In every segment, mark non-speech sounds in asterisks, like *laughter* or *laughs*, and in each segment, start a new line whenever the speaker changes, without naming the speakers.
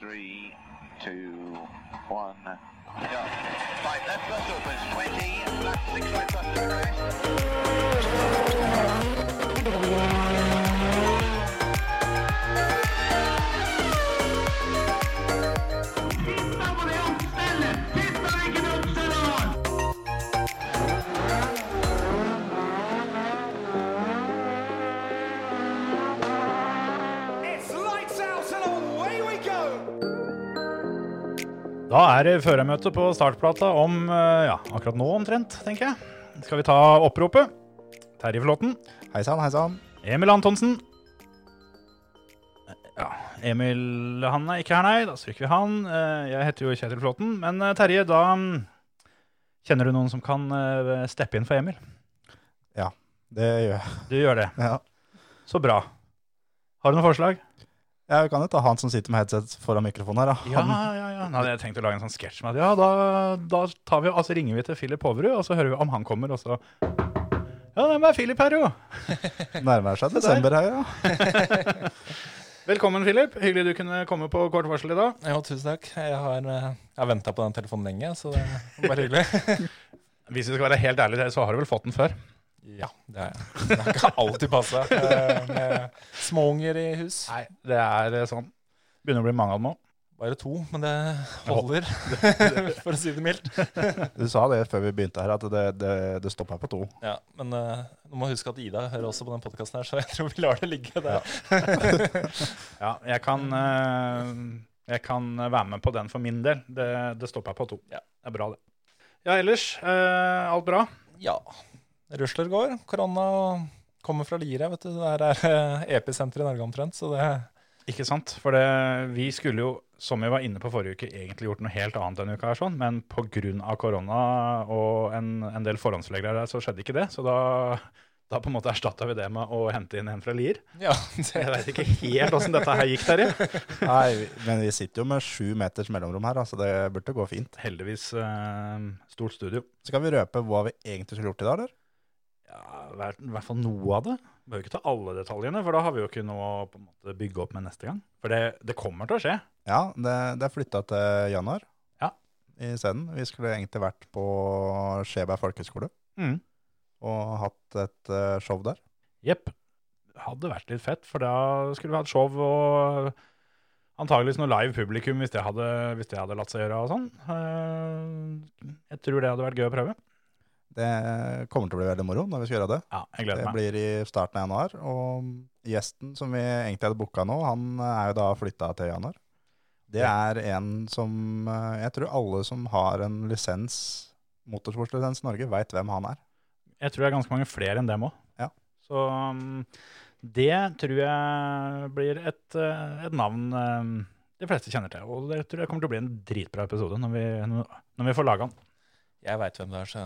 Three, two, one, go. Five left bus opens, 20, left six right bus progress.
Da er det førermøte på startplata om eh, ja, akkurat nå omtrent, tenker jeg. Skal vi ta oppropet? Terje Flåten.
Hei sann, hei sann.
Emil Antonsen. Ja, Emil han er ikke her, nei. Da stryker vi han. Eh, Jeg heter jo Kjetil Flåten. Men eh, Terje, da mm, kjenner du noen som kan eh, steppe inn for Emil?
Det gjør jeg. *laughs*
Du gjør det.
Ja.
Så bra. Har du noen forslag?
Jeg kan jo ta han som sitter med headset foran mikrofonen her. Da.
Ja,
Han,
ja, ja. Nå hadde jeg tenkt å lage en sånn sketsj med at ja, da, da tar vi, altså ringer vi til Philip Hoverud, og så hører vi om han kommer, og så Ja, det er Philip her, jo.
nærmer seg desember her, ja.
Velkommen, Philip. Hyggelig du kunne komme på kort varsel i dag.
Jo, tusen takk. Jeg har, eh, jeg har venta på den telefonen lenge, så det er bare *laughs* hyggelig.
Hvis vi skal være helt ærlige, så har du vel fått den før?
Ja, det har jeg. Det har ikke alltid passa med småunger i hus.
Nei, det er eh, sånn. Begynner å bli mange av dem òg.
Bare to, men det holder, for å si *laughs* det mildt.
Du sa det før vi begynte her, at det, det, det stopper på to.
Ja, Men eh, du må huske at Ida hører også på den podkasten her, så jeg tror vi lar det ligge der.
Ja, jeg kan, eh, jeg kan være med på den for min del. Det, det stopper jeg på to.
Ja.
Det er bra, det. Ja, ellers eh, alt bra?
Ja. Rusler går. Korona og kommer fra Lier, vet du. Det her er eh, episenteret i Norge omtrent, så det
Ikke sant? For det, vi skulle jo, som vi var inne på forrige uke, egentlig gjort noe helt annet denne uka, her, sånn, men pga. korona og en, en del forhåndsregler der, så skjedde ikke det. Så da, da på en måte erstatta vi det med å hente inn en fra Lier.
Ja,
Jeg
det,
veit ikke helt åssen dette her gikk, Terje.
Nei, vi- men vi sitter jo med sju meters mellomrom her, da, så det burde gå fint.
Heldigvis eh, stort studio.
Skal vi røpe hva vi egentlig skulle gjort i dag, eller?
Ja, I hvert- i hvert fall noe av det. Vi Bør jo ikke ta alle detaljene, for da har vi jo ikke noe å på en måte, bygge opp med neste gang. For det, det kommer til å skje.
Ja, det, det er flytta til januar
Ja.
isteden. Vi skulle egentlig vært på Skjeberg folkehøgskole
Mm.
og hatt et eh, show der.
Jepp. Hadde vært litt fett, for da skulle vi hatt show og antageligvis noe live publikum hvis det hadde, hvis det hadde latt seg gjøre og sånn. Eh, Jeg tror det hadde vært gøy å prøve.
Det kommer til å bli veldig moro når vi skal gjøre det.
Ja, jeg gleder
Det
meg.
blir i starten av januar, og gjesten som vi egentlig hadde booka nå, han eh, er jo da flytta til januar. Det er en som eh, Jeg tror alle som har en lisens, motorsportlisens i Norge, veit hvem han er.
Jeg tror det er ganske mange flere enn dem òg.
Ja.
Så um, det tror jeg blir et, eh, et navn eh, de fleste kjenner til. Og det tror jeg kommer til å bli en dritbra episode når vi, når vi får laga den.
jeg veit hvem det er, så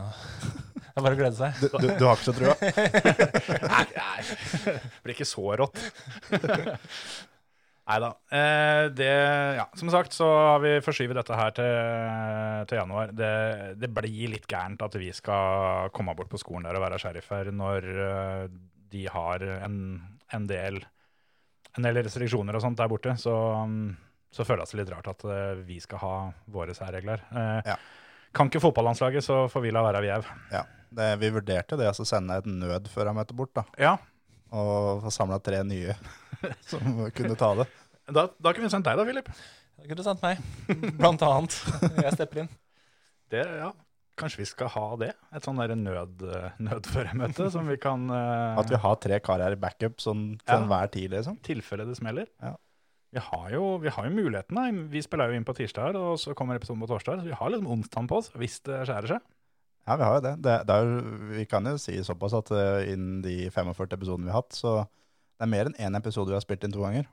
det er bare å glede seg.
Du, du, du har ikke så trua?
Nei, nei. Det blir ikke så rått. Nei da. Eh, det, ja. Som sagt så har vi forskyvet dette her til, til januar. Det, det blir litt gærent at vi skal komme bort på skolen der og være sheriffer når eh, de har en, en, del, en del restriksjoner og sånt der borte. Så, mm, så føles det litt rart at eh, vi skal ha våre særregler. Eh,
Ja.
Kan ikke fotballandslaget, så får vi la være vi au.
*laughs* Det, vi vurderte det, altså sende et nød før han møtte bort, da.
Ja,
Og få samla tre nye *laughs* som kunne ta det.
da, da kunne vi sendt deg da, Filip.
Det kunne du sendt meg, *laughs* blant annet. Jeg stepper inn.
Det, ja. Kanskje vi skal ha det? Et sånn der nød,
*laughs*
nødførermøte som vi kan eh,
At vi har tre kar her i backup sånn til
Ja.
enhver tid, liksom.
tilfelle det smeller.
Ja.
Vi har jo, vi har jo mulighetene. Vi spiller jo inn på tirsdag, og så kommer episoden på torsdag. Så vi har liksom onsdagen på oss hvis det skjærer seg.
Ja, vi har jo det. det, det er, jo- vi kan jo si såpass at eh, innen de 45 episodene vi har hatt, så det er mer enn én episode vi har spilt inn to ganger.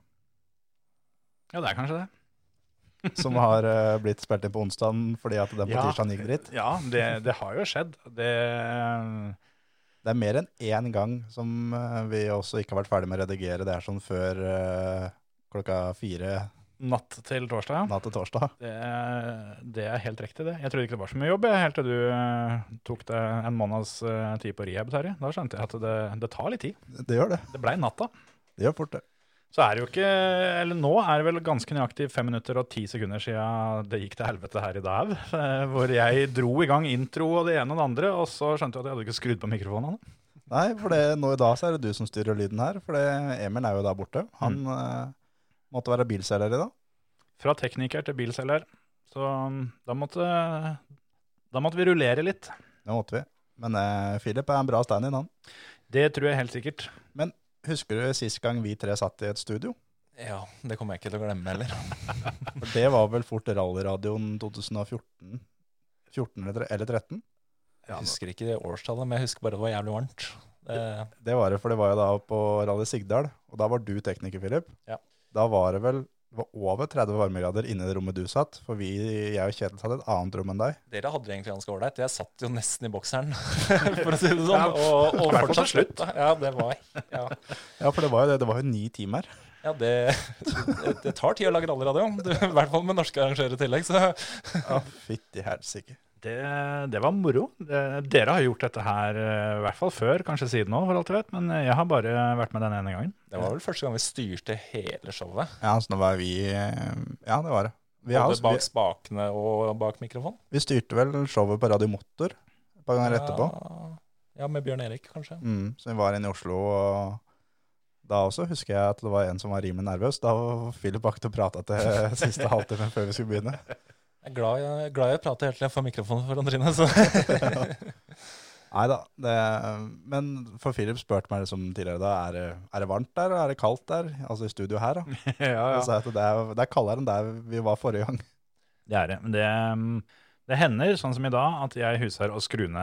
Ja, det er kanskje det.
Som har eh, blitt spilt inn på onsdagen fordi at den på
Ja.
tirsdagen gikk dritt.
Ja, det, det har jo skjedd. Det
Det er mer enn én gang som eh, vi også ikke har vært ferdig med å redigere det her sånn før eh, klokka fire
Natt til torsdag, ja.
natt til torsdag.
Det, det er helt riktig, det. Jeg trodde ikke det var så mye jobb jeg, helt til du eh, tok deg en måneds eh, tid på rehab, Terje. Da skjønte jeg at det, det tar litt tid.
Det gjør det.
Det blei natta.
Det gjør fort det.
Så er det jo ikke Eller nå er det vel ganske nøyaktig fem minutter og ti sekunder siden det gikk til helvete her i dag. *laughs* eh, Hvor jeg dro i gang intro og det ene og det andre, og så skjønte jeg at jeg hadde ikke skrudd på mikrofonen. ennå.
Nei, for det, nå i dag så er det du som styrer lyden her, for det, Emil er jo da borte. Han eh, måtte være bilselger i dag.
Fra tekniker til bilselger. Så mm, da måtte, da måtte vi rullere litt.
Det måtte vi. Men eh, Philip er en bra stand-in, han.
Det tror jeg helt sikkert.
Husker du sist gang vi tre satt i et studio?
Ja, det kommer jeg ikke til å glemme heller.
For det var vel fort rallyradioen 2014 14 eller tre- eller 13?
Ja,
Jeg husker ikke årstallet, men jeg husker bare det var jævlig varmt. Eh,
Det var det, for det var jo da på Rally Sigdal, og da var du tekniker, Philip.
Ja.
Da var det vel det var over 30 varmegrader inne i det rommet du satt, for vi, jeg og Kjetil satt i et annet rom enn deg.
dere hadde det egentlig ganske ålreit. Jeg satt jo nesten i bokseren, *laughs* for å si det sånn.
Ja.
Og, og
I hvert fall til
fortsatt slutt. da. Ja, det var ja.
Ja, for det var jo det, det var jo ni timer.
ja, det, det, det tar tid å lage rallyradio. *laughs* Du, I hvert fall med norske arrangører i tillegg. Så
Ja, fytti helsike.
Det, det var moro. Det- Dere har gjort dette her eh, i hvert fall før, kanskje siden nå, for alt jeg vet. Men jeg har bare vært med den ene gangen.
det var vel første gang vi styrte hele showet.
Ja, så nå var vi eh, Ja, det var det. Vi, har,
Både bak
vi,
spakene og bak mikrofon.
vi styrte vel showet på Radio Motor et par ganger etterpå.
Ja, med Bjørn Erik, kanskje.
Mm, så vi var inne i Oslo, og da også husker jeg at det var en som var rimelig nervøs. Da var Philip Bakte og prata
*laughs*
til siste halvtimen før vi skulle begynne.
Jeg er glad jeg, glad jeg prater helt til jeg får mikrofonen foran trynet. Så.
Nei da. Men for Philip spurte meg liksom tidligere da er det, er det varmt der, og er det kaldt der? Altså i studio her, da.
ja,
Da sa jeg at det er, det er kaldere enn der vi var forrige gang.
Det er det. Men det, mm, det hender, sånn som i dag, at jeg huser å skru ned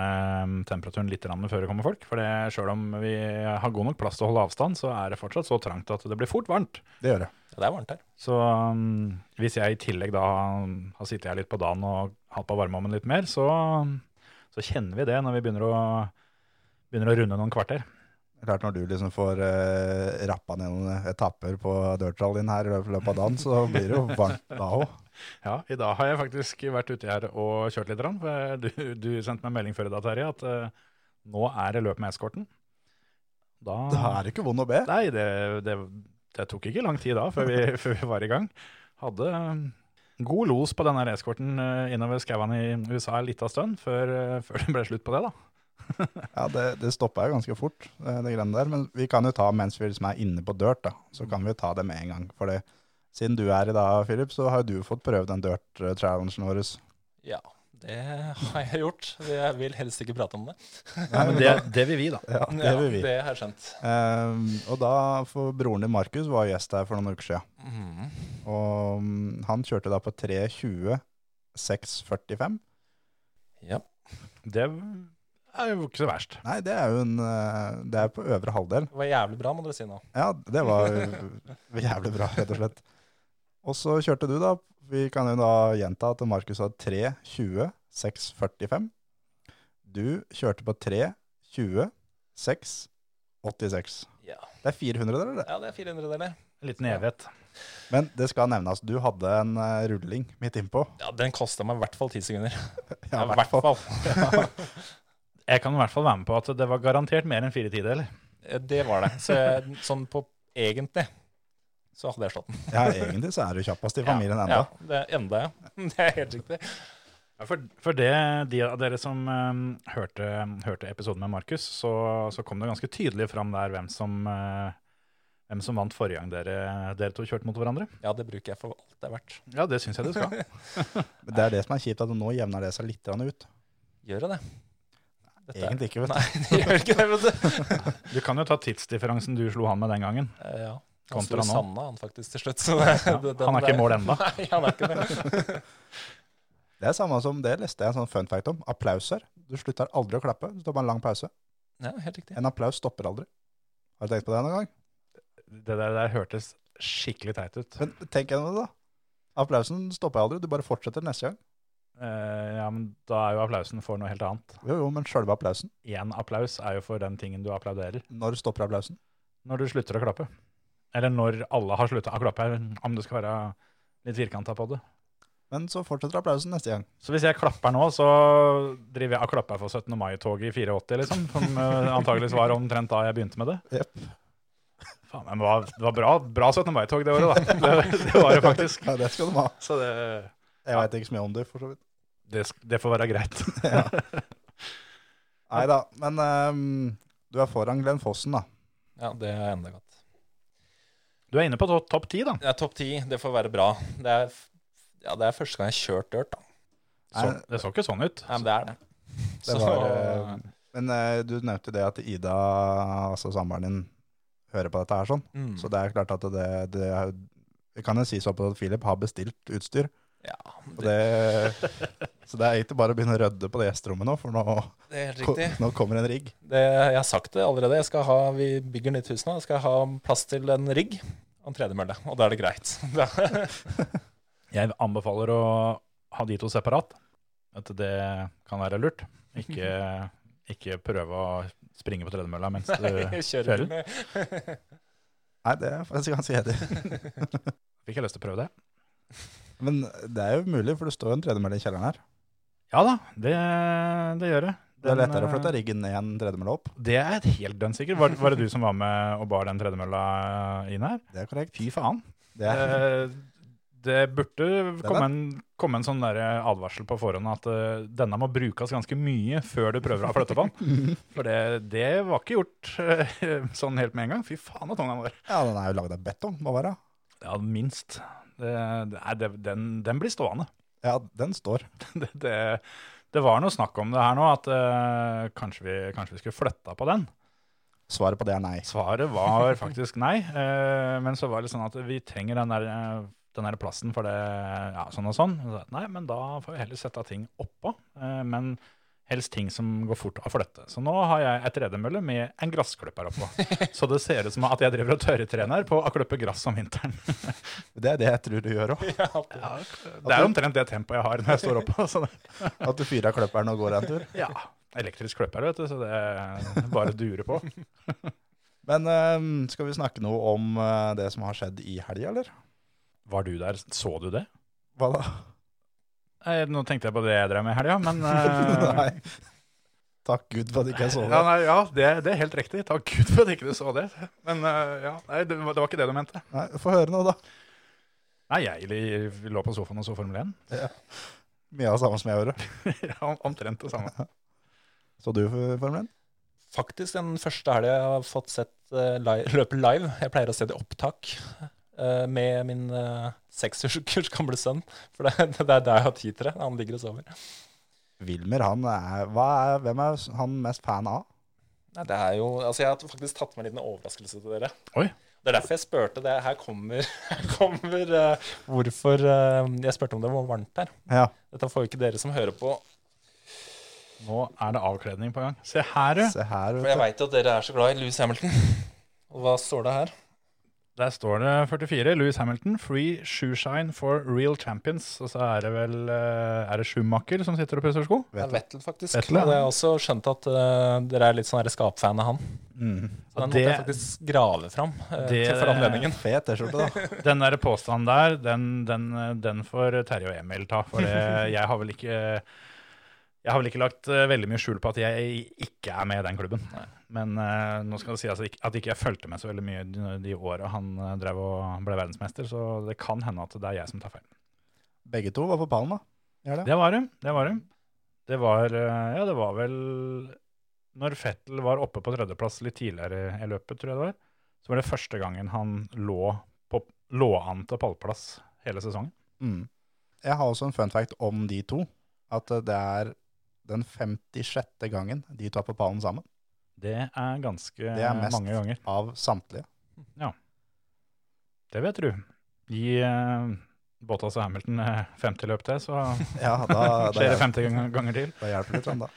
mm, temperaturen litt grann før det kommer folk. For det- sjøl om vi har god nok plass til å holde avstand, så er det fortsatt så trangt at det blir fort varmt.
Det gjør det.
Ja, det er varmt her.
Så mm, hvis jeg i tillegg da mm, har sittet her litt på dagen og hatt på varmeovnen litt mer, så, mm, så kjenner vi det når vi begynner å, begynner å runde noen kvarter.
Klart når du liksom får eh, rappa ned noen etapper på dirtrallyen her i løpet- løpet av dagen, så blir det jo varmt da òg.
Ja, i dag har jeg faktisk vært ute her og kjørt litt. grann, For du, du sendte meg en melding før i dag, Terje, at eh, nå er det løp med eskorten. Da,
Da er det ikke vond å be.
Nei, det, det, det tok ikke lang tid da før vi, *laughs* før vi var i gang. Hadde eh, god los på denne eskorten eh, innover skauene i USA en liten stund før, eh, før det ble slutt på det, da.
Ja, det, det stoppa jo ganske fort, eh, det greiene der. Men vi kan jo ta mens vi liksom er inne på dirt, da. Så kan vi jo ta det med en gang. For det, siden du er i dag, Philip, så har jo du fått prøvd den dirt-challengen vår.
Ja, det har jeg gjort. Jeg vil helst ikke prate om det.
Nei, men
det, vil vi, da.
*laughs* Ja, det vil vi.
Ja, det har jeg skjønt.
Eh, og da, for broren din Markus var gjest her for noen uker siden.
Mm.
Og mm, han kjørte da på 3.20,645.
Ja.
Det er jo ikke så verst.
Nei, det er jo en eh, Det er på øvre halvdel.
Det var jævlig bra, må dere si nå.
Ja, det var jævlig bra, rett og slett. Og så kjørte du, da. Vi kan jo da gjenta at Markus hadde 3, 20, 6, 45. Du kjørte på 3, 20, 6, 86.
Ja,
Det er 400, eller? det?
ja det er 400 deler.
En liten evighet.
Men det skal nevnes, du hadde en eh, rulling midt innpå.
Ja, Den kosta meg i hvert fall ti sekunder.
Ja,
i hvert fall. *laughs*
Jeg kan i hvert fall være med på at det var garantert mer enn fire tideler.
Det var det. Så jeg, sånn på egentlig så hadde jeg slått den.
Ja, egentlig så er du kjappest i familien enda.
Ja, det er enda, ja. *laughs* Det er helt riktig.
Ja, for, for det, de av dere som eh, hørte, hørte episoden med Markus, så, så kom det ganske tydelig fram der hvem som, eh, hvem som vant forrige gang dere, dere to kjørte mot hverandre.
Ja, det bruker jeg for alt det er verdt.
Ja, det syns jeg du skal.
Men Det er det som er kjipt, at nå jevner det seg litt grann ut.
Gjør jeg det? Dette er-
Egentlig ikke, vet du.
Nei, det *laughs* gjør ikke det, vet du.
Du kan jo ta tidsdifferansen du slo han med den gangen.
Eh, Ja. Han
Kontra
slo
nå.
Sanna, han faktisk, til slutt. Så det,
Ja,
det-
han
den
er ikke i
der-
mål enda.
*laughs* Nei, han er ikke det.
Det er samme som det, leste jeg en sånn fun fact om. Applauser. Du slutter aldri å klappe. Du tar bare en lang pause.
Ja, helt riktig.
En applaus stopper aldri. Har du tenkt på det noen gang?
Det der, der hørtes skikkelig teit ut.
Men tenk gjennom det, da. Applausen stopper aldri. Du bare fortsetter neste gang.
Eh, ja, men da er jo applausen for noe helt annet.
Jo, jo, men sjølve applausen.
Én applaus er jo for den tingen du applauderer.
Når stopper applausen?
når du slutter å klappe. Eller når alle har slutta å klappe, om du skal være litt firkanta på det.
Men så fortsetter applausen neste gang.
Så hvis jeg klapper nå, så driver jeg og klapper for 17. mai-toget i 84, liksom. Som eh, antageligvis var omtrent da jeg begynte med det. Faen, men det var, det var bra, bra 17. mai-tog det året, da. Det, det var det faktisk.
*laughs* Ja, det skal de ha.
Så det,
Jeg veit ikke så mye om det, for så vidt. *laughs*
det, sk- det får være greit.
Nei da, men ehm, du er foran Glenn Fossen, da.
Ja, det er enda godt.
Du er inne på to- topp ti, da.
Det er topp ti, det får være bra. Det er, f- ja, det er første gang jeg har kjørt dirt, da.
Så,
Nei,
det så ikke sånn ut.
Nei, men det er det.
det var, eh, men eh, du nevnte det at Ida, altså samboeren din, hører på dette her sånn.
mm.
Så det er klart at det, det er, det kan jo sies opp at Philip har bestilt utstyr.
ja,
Og
det,
det, så det er egentlig bare å begynne å rødde på det gjesterommet nå, for nå,
*laughs* det er helt riktig.
nå kommer en rigg.
Det, jeg har sagt det allerede. Jeg skal ha, vi bygger nytt hus nå. Jeg skal ha plass til en rigg og en tredemølle. Og da er det greit. *laughs* Da-
Jeg anbefaler å ha de to separat. At det kan være lurt. Ikke,
*laughs*
ikke prøve å springe på tredemølla mens du
jeg *laughs* kjører med.
Nei, det er faktisk ganske hedig.
*laughs* Fikk jeg lyst til å prøve det?
Men det er jo mulig, for det står jo en tredemølle i kjelleren her.
Ja da, det, det gjør det.
Det er
Den,
lettere å flytte
eh,
riggen ned enn tredemølla opp.
Det er et helt dønn sikkert. Var, var det du som var med og bar den tredemølla inn her?
Det er korrekt.
Fy faen.
Det er,
Eh, Det burde
er
komme en, komme en sånn der advarsel på forhånd at eh, denne må brukes ganske mye før du prøver å flytte på den. For det, det var ikke gjort eh, *laughs* sånn helt med en gang. Fy faen at tunga var.
ja, den er jo lagd av betong, må være.
Ja, minst. Det, det, er- det, den, den blir stående. *laughs*
Ja, den står.
Det, det, det var noe snakk om det her nå, at eh, kanskje, vi, kanskje vi skulle flytta på den.
Svaret på det er nei.
Svaret var faktisk nei, eh, men så var det sånn at vi trenger den der, eh, den der plassen for det, ja, sånn og sånn. Og så, nei, men da får vi heller sette ting oppå, eh, men helst ting som går fort å flytte. Så nå har jeg et tredemølle med en gressklipper oppå. Så det ser ut som at jeg driver og tørretrener på å klippe gress om vinteren.
Det er det jeg tror du gjør òg.
Ja,
Det er omtrent det tempoet jeg har når jeg står oppå. Så det,
At du fyrer av kløpperen og går en tur.
ja, elektrisk klipper, vet du, så det bare durer på.
Men eh, skal vi snakke noe om eh, det som har skjedd i helga, eller?
Var du der? Så du det?
Hva da?
Eh, Nå tenkte jeg på det jeg drev med i helga, men eh,
*laughs* nei. Takk Gud for at ikke jeg så
Ja,
det.
nei, ja det, det er helt riktig. Takk Gud for at ikke du så det. Men eh, ja, nei, det, var- det var ikke det du mente.
Nei, Få høre nå, da.
Nei, jeg li- lå på sofaen og så Formel 1.
Mye av det samme som jeg gjorde.
*laughs* ja, om- omtrent det samme.
Så du Formel 1?
Faktisk den første helga jeg har fått sett eh, li- *laughs* løpet live. Jeg pleier å se det i opptak eh, med min eh, seks års gamle sønn. For det, *laughs* det er der jeg har tid til det. Han ligger og sover.
Wilmer, han er, hva er, hvem er han mest fan av?
Nei, det er jo, altså jeg har faktisk tatt med en liten overraskelse til dere.
Oi.
Det er derfor jeg spurte det. Her kommer, *laughs* her kommer eh, hvorfor eh, jeg spurte om det var varmt her.
Ja,
Dette får jo ikke dere som hører på.
*laughs* Nå er det avkledning på gang. Se her, du.
se her.
For jeg
Vet du.
veit jo at dere er så glad i Louis Hamilton. Og hva står det her?
Der står det 44. Louis Hamilton, free shoe shine for real champions. Og så er det vel eh, Er det Schumacher som sitter og pusser sko?
Det er
Vet du.
Vettel, faktisk.
Vettel, ja.
Og det har jeg også skjønt at eh, dere er litt sånn her skapfan av han. Så den
Mm.
det-
måtte jeg faktisk grave fram eh,
Det-
til for anledningen.
Fet T-skjorte, da.
Den der påstanden der, den, den, eh, den får Terje og Emil ta. For det, jeg har vel ikke Jeg har vel ikke lagt eh, veldig mye skjul på at jeg ikke er med i den klubben. Men eh, nå skal det sies at ikke- at ikke jeg fulgte med så veldig mye de, de åra han eh, drev og ble verdensmester, så det kan hende at det er jeg som tar feil.
Begge to var på pallen, da. Gjør det?
Det var det. Det var det. Det var eh, Ja, det var vel Når Fettel var oppe på tredjeplass litt tidligere i løpet, tror jeg det var, så var det første gangen han lå, på, lå an til pallplass hele sesongen.
Mm. Jeg har også en fun fact om de to. At eh, det er den 56. gangen de to er på pallen sammen.
Det er ganske
er mest.
mange ganger.
Av samtlige.
Det vet du. Gi eh, Bottas og Hamilton eh, 50 løp til, så
*laughs* Ja, da, da,
skjer det
hjelper,
50 gang- ganger til.
da hjelper det litt, sånn, da.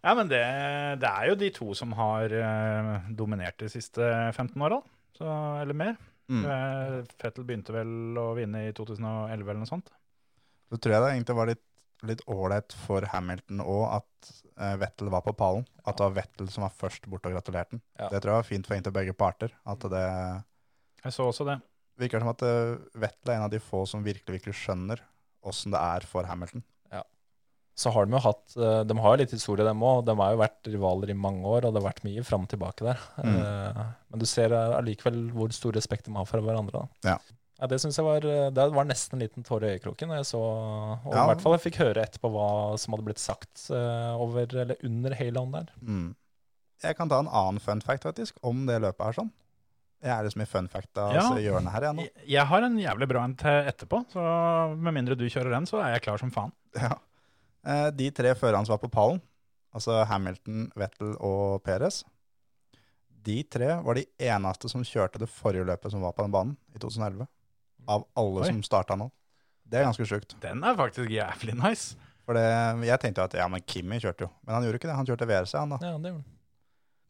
Ja, men det, det er jo de to som har eh, dominert de siste 15 åra, så- eller mer.
Mm.
Eh, Fettel begynte vel å vinne i 2011 eller noe sånt.
Så tror jeg det egentlig var litt, litt ålreit for Hamilton òg at eh, Vettel var på pallen. At det var Vettel som var først borte og gratulerte den.
Ja.
Det tror jeg var fint for egentlig begge parter. At det
Jeg så også det.
virker som at eh, Vettel er en av de få som virkelig, virkelig skjønner åssen det er for Hamilton.
så har de jo hatt eh, De har jo litt historie, dem òg. De har jo vært rivaler i mange år, og det har vært mye fram og tilbake der. Eh, Men du ser eh, allikevel hvor stor respekt de har for hverandre. da.
Ja.
Ja, det synes jeg var, eh, det var nesten en liten tåre i øyekroken. når Jeg så, og
Ja.
i hvert fall jeg fikk høre etterpå hva som hadde blitt sagt eh, over, eller under Halon der.
Mm. Jeg kan ta en annen fun fact faktisk, om det løpet her sånn. Jeg er liksom i fun fact av
Ja.
hjørnet her igjen nå.
Jeg- Jeg har en jævlig bra en til etterpå, så med mindre du kjører den, så er jeg klar som faen.
Ja. Eh, De tre førerne som var på pallen, altså Hamilton, Vettel og Perez, de tre var de eneste som kjørte det forrige løpet som var på den banen i 2011. Av alle
Oi.
som starta nå. Det er ganske sjukt.
Den er faktisk jævlig nice.
For det, jeg tenkte jo at ja, men Kimi kjørte jo. Men han gjorde ikke det. Han kjørte VRC, han da.
Ja, det gjorde han.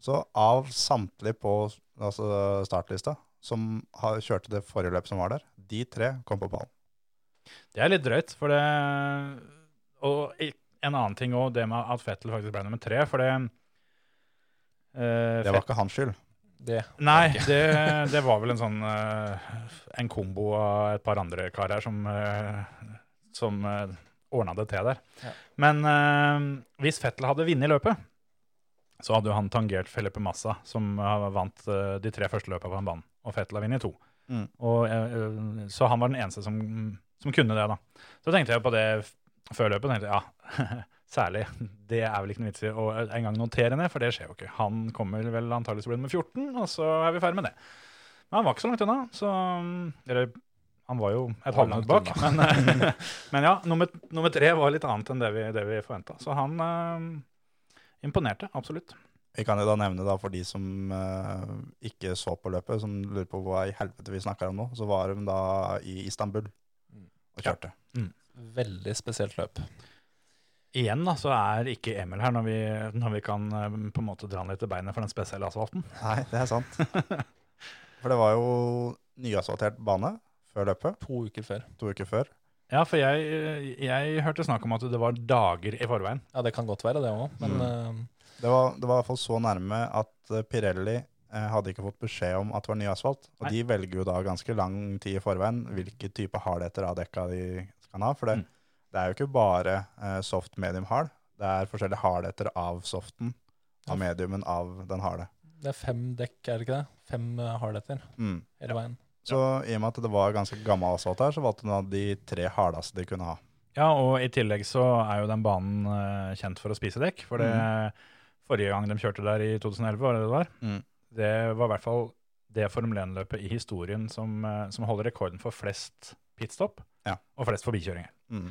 Så av samtlige på altså startlista som har, kjørte det forrige løpet som var der, de tre kom på pallen.
Det er litt drøyt, for det Og i- en annen ting òg, det med at Fettel faktisk ble nummer tre, for det eh,
Det var ikke hans skyld.
Det
*laughs*
Nei, det, det var vel en sånn eh, En kombo av et par andre karer som, uh, som eh, ordna det til der.
Ja.
Men eh, hvis Fettel hadde vunnet løpet, så hadde jo han tangert Felipe Massa, som eh, vant eh, de tre første løpene på den banen. Og Fettel har vunnet to.
Mm.
Og, eh, eh, så han var den eneste som, som kunne det, da. Så tenkte jeg på det f- før løpet. tenkte jeg, ja, *laughs* Særlig. Det er vel ikke noe vits i å eh, engang notere ned, for det skjer jo ikke. Han kommer vel antakeligvis til å bli nummer 14, og så er vi ferdig med det. Men han var ikke så langt unna, så mm, Eller, han var jo et
Var
halvminutt
langt
bak. *laughs* Men, eh, men ja, nummer, nummer tre var litt annet enn det vi, det vi forventa. Så han eh, imponerte, absolutt.
Vi kan jo da nevne da for de som eh, ikke så på løpet, som lurer på hva i helvete vi snakker om nå, så var de da i Istanbul og kjørte.
Veldig spesielt løp.
Igjen da, så er ikke Emil her når vi, når vi kan eh, på en måte dra han litt i beinet for den spesielle asfalten.
Nei, det er sant. *laughs* For det var jo nyasfaltert bane før løpet,
To uker før.
to uker før.
Ja, for jeg, eh, jeg hørte snakk om at det var dager i forveien.
Ja, det kan godt være, det òg, men eh,
Det var, det var i hvert fall så nærme at eh, Pirelli eh, hadde ikke fått beskjed om at det var ny asfalt. Og
Nei.
de velger jo da ganske lang tid i forveien hvilke type hardheter av dekka de kan ha. For det,
Mm.
det er jo ikke bare eh, soft, medium, hard. Det er forskjellige hardheter av soften,
Ja.
av mediumen, av den harde.
det er fem dekk, er det ikke det? Fem eh, hardheter
Mm.
hele veien.
Så i og med at det var ganske gammel asfalt her, så valgte de da de tre hardeste de kunne ha.
Ja, og i tillegg så er jo den banen eh, kjent for å spise dekk. For det forrige gang de kjørte der i 2011, var det det var?
Mm.
Det var i hvert fall det Formel 1-løpet i historien som, eh, som holder rekorden for flest pitstop
Ja.
og flest forbikjøringer.
Mm.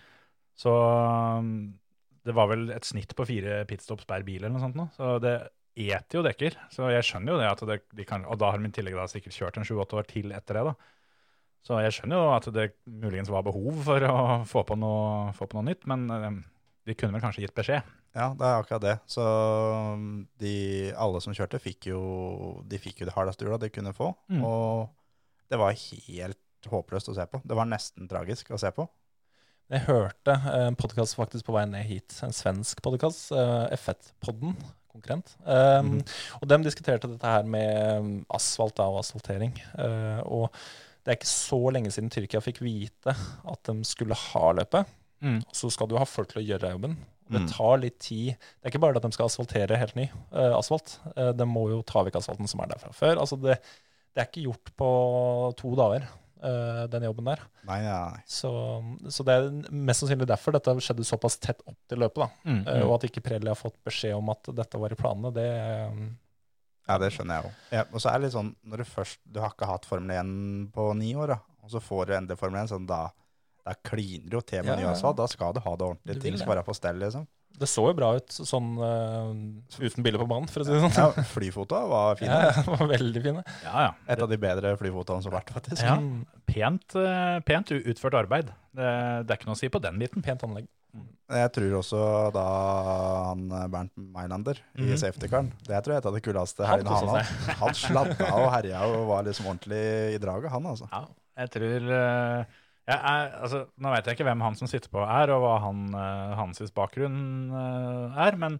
Så um, det var vel et snitt på fire pitstops per bil eller noe sånt nå. Så det eter jo dekker. Så jeg skjønner jo det at det, de kan Og da har de i tillegg da sikkert kjørt en sju-åtte år til etter det, da. Så jeg skjønner jo at det muligens var behov for å få på noe, få på noe nytt, men um, de kunne vel kanskje gitt beskjed.
Ja, det er akkurat det. Så um, de, alle som kjørte, fikk jo, de fikk jo det hardeste hjula de kunne få.
Mm.
Og det var helt håpløst å se på. Det var nesten tragisk å se på.
Jeg hørte eh, en podkast faktisk på vei ned hit, en svensk eh, podkast, F1-podden, konkurrent. Um, Og dem diskuterte dette her med um, asfalt da, og asfaltering. Eh, og det er ikke så lenge siden Tyrkia fikk vite at de skulle ha løpet.
Mm.
Og så skal du ha folk til å gjøre jobben. Og
Mm.
Det tar litt tid. Det er ikke bare det at de skal asfaltere helt ny eh, asfalt. Eh, de må jo ta vekk asfalten som er der fra før. Altså det, det er ikke gjort på to dager, eh, den jobben der.
Nei, nei, nei.
Så, så det er mest sannsynlig derfor dette skjedde såpass tett opp til løpet. da.
Mm,
Eh, Og at ikke Pirelli har fått beskjed om at dette var i planene, det eh,
Ja, det skjønner jeg òg. Ja, og så er det litt sånn, når du først Du har ikke hatt Formel 1 på ni år, da. Og så får du endelig Formel 1, sånn da da kliner det jo til med
Ja,
ny
ja.
asfalt. Da skal du ha
Du
det
vil
ordentlig. Ting
det.
skal være på stell,
*laughs*
liksom.
Det så jo bra ut sånn eh, uten biler på banen, for å si det sånn.
Ja, Flyfota var fin.
Ja, *laughs* det var veldig fine.
Ja, ja.
Et av de bedre flyfotaene som har vært, faktisk.
Ja.
Mm,
Pent, eh, pent utført arbeid. Det, det er ikke noe å si på den biten.
Pent anlegg.
Jeg tror også da han eh, Bernt Meilander i
Mhm.
safety-karen Det tror jeg er et av de kuleste
Han
helgene
koset
han hadde. Han slappa og herja og var liksom ordentlig i draget, han altså.
Ja, jeg tror eh, jeg er, altså, Nå vet jeg ikke hvem han som sitter på er, og hva han, eh, hans bakgrunn eh, er, men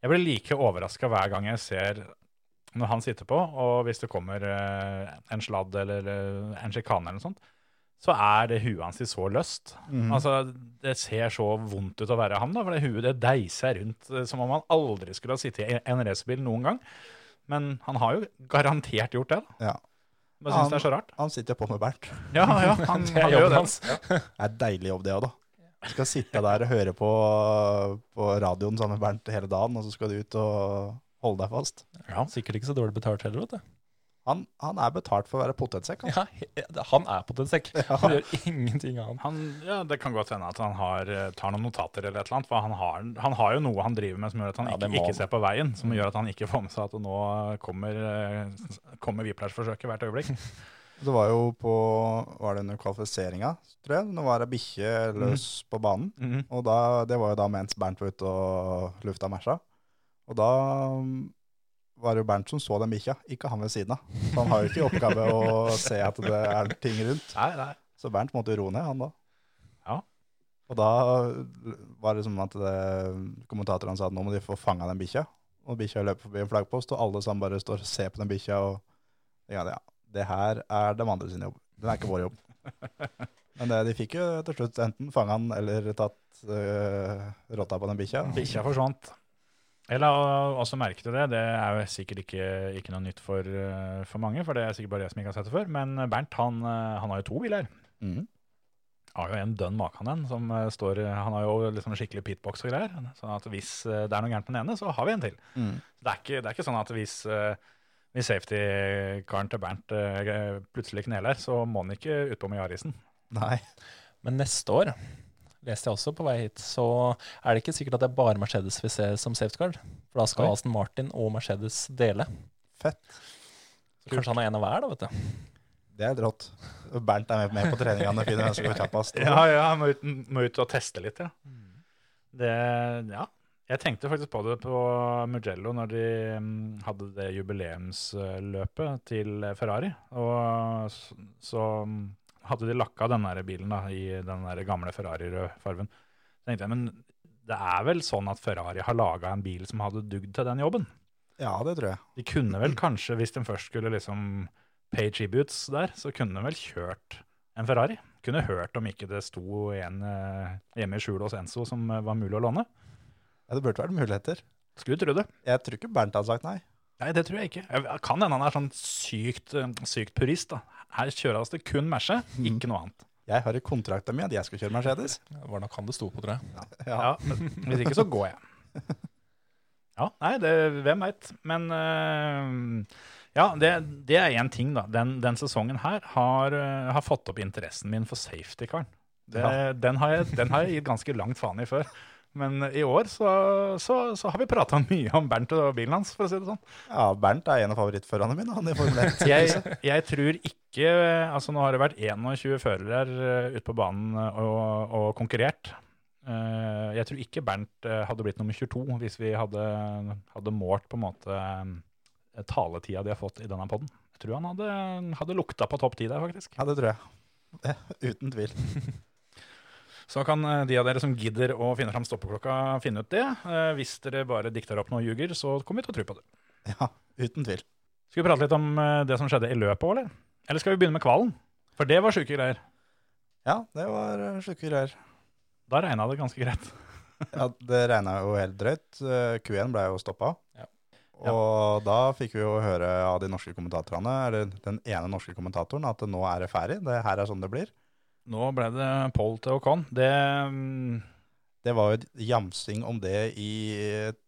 jeg blir like overraska hver gang jeg ser når han sitter på, og hvis det kommer eh, en sladd eller eh, en sjikane eller noe sånt, så er det huet hans i så løst. Altså, Det ser så vondt ut å være ham, da, for det huet det deiser rundt eh, som om han aldri skulle ha sittet i en racerbil noen gang. Men han har jo garantert gjort det. da.
Ja.
Bare syns
Han-
det er så rart.
Han sitter jo på med Bernt.
*laughs* Ja, ja, han,
Det
han
er
gjør jo
jobben
*laughs* det.
hans.
Det er en deilig jobb, det òg, da. Du skal sitte der og høre på, på radioen sammen med Bernt hele dagen, og så skal du ut og holde deg fast.
Ja.
Sikkert ikke så dårlig betalt heller, vet du.
Han, han er betalt for å være potetsekk. altså. Han.
Ja, he- han er potetsekk. Han gjør ingenting annet.
Han, ja, det kan godt hende at han har, eh, tar noen notater eller et eller annet. For han har, han har jo noe han driver med som gjør at han
Ja, det
ikke,
må
ikke
han. Mm.
ser på veien. Som gjør at han ikke får med seg at nå kommer, eh, kommer whiplash-forsøket hvert øyeblikk.
*laughs*
Det var jo på Var det under kvalifiseringa, tror jeg? Nå var det bikkje løs på banen.
Mm-hmm.
Mhm.
Og da, det var jo da mens Bernt var ute og lufta mersa. Og da mm, var det jo Bernt som så den bikkja, ikke han ved siden av. Så han har jo ikke i oppgave å se at det er ting rundt.
Nei, nei.
Så Bernt måtte jo roe ned, han da.
Ja.
Og da var det som at det, kommentatorene sa at nå må de få fanga den bikkja. Og bikkja løper forbi en flaggpost, og alle sammen bare står og ser på den bikkja. Og ja, ja, det her er de andre sin jobb. Den er ikke vår
*laughs*
jobb. Men det, de fikk jo til slutt enten fanga den eller tatt øh, rotta på den bikkja.
Bikkja forsvant. Eller og- også merket du det, det er jo sikkert ikke, ikke noe nytt for, eh, for mange, for det er sikkert bare jeg som ikke har sett det før, men Bernt han, eh, han har jo to biler. Mm.
Mhm.
Har jo en dønn makan en, som eh, står, han har jo liksom skikkelig pitbox og greier, sånn at hvis eh, det er noe gærent med den ene, så har vi en til.
Mhm.
Det er ikke, det er ikke sånn at hvis, eh, hvis safety-karen til Bernt eh, plutselig kneler, så må han ikke utpå med Jarisen.
*laughs* Nei.
Men neste år, leste jeg også på vei hit, så er det ikke sikkert at det er bare Mercedes vi ser som safety card. For da skal
Oi.
Aston Martin og Mercedes dele.
Fett.
Så kanskje han er en av hver, da, vet du.
Det er rått. Bernt er med, med på treningene og finner hvem som går kjappest.
*laughs* Ja, ja, må ut, må ut og teste litt, ja. Mm. Det, ja. Jeg tenkte faktisk på det på Mugello når de mm, hadde det jubileumsløpet til Ferrari. Og så, så mm, hadde de lakka den der bilen da, i den der gamle Ferrari-farven. Så tenkte jeg, men det er vel sånn at Ferrari har laga en bil som hadde dugd til den jobben?
ja, det tror jeg.
De kunne vel kanskje, hvis de først skulle liksom pay tributes der, så kunne de vel kjørt en Ferrari. Kunne hørt om ikke det sto en eh, hjemme i skjulet hos Enso som eh, var mulig å låne.
Ja, det burde vært muligheter.
Skulle tro det.
Jeg tror ikke Bernt hadde sagt nei.
Nei, det tror jeg ikke. Jeg kan hende han er sånn sykt, eh, sykt purist. da. Her kjøres det kun Merce, ikke noe annet.
Jeg har i kontrakten min at jeg skal kjøre Mercedes.
Det var nok han det sto på, tror jeg.
Ja, men Hvis ikke så går jeg. *laughs* Ja, nei, det, hvem veit. Men eh, ja, det, det er én ting, da. Den, den sesongen her har, eh, har fått opp interessen min for safety-karen. Det-
Ja.
Den, har jeg- den har jeg gitt ganske langt faen i før. Men i år så, så, så har vi prata *laughs* mye om Bernt og bilen hans, for å si det sånn.
Ja, Bernt er en av favorittførerne mine, han i Formel 1.
Jeg, jeg tror ikke Altså, nå har det vært 21 førere eh, ute på banen og, og konkurrert. Eh, Jeg tror ikke Bernt eh, hadde blitt nummer 22 hvis vi hadde, hadde målt på en måte eh, taletida de har fått i denne poden. Jeg tror han hadde, hadde lukta på topp ti der, faktisk.
Ja, det tror jeg. Det, uten tvil.
Så kan eh, de av dere som gidder å finne fram stoppeklokka, finne ut det. Eh, Hvis dere bare dikter opp noe og ljuger, så kommer vi til å tro på det.
Ja, uten tvil.
Skal vi prate litt om eh, det som skjedde i løpet, eller? Eller skal vi begynne med kvalen? For det var sjuke greier.
Ja, det var eh, sjuke greier.
Da regna det ganske greit.
Ja, det regna jo helt drøyt. Eh, Q1 ble jo stoppa.
Ja.
Og da fikk vi jo høre av de norske kommentatorene, eller den ene norske kommentatoren, at nå er det ferdig. Det her er sånn det blir.
Nå ble det poll til Ocon. Det, mm,
Det var jo et jamsing om det i et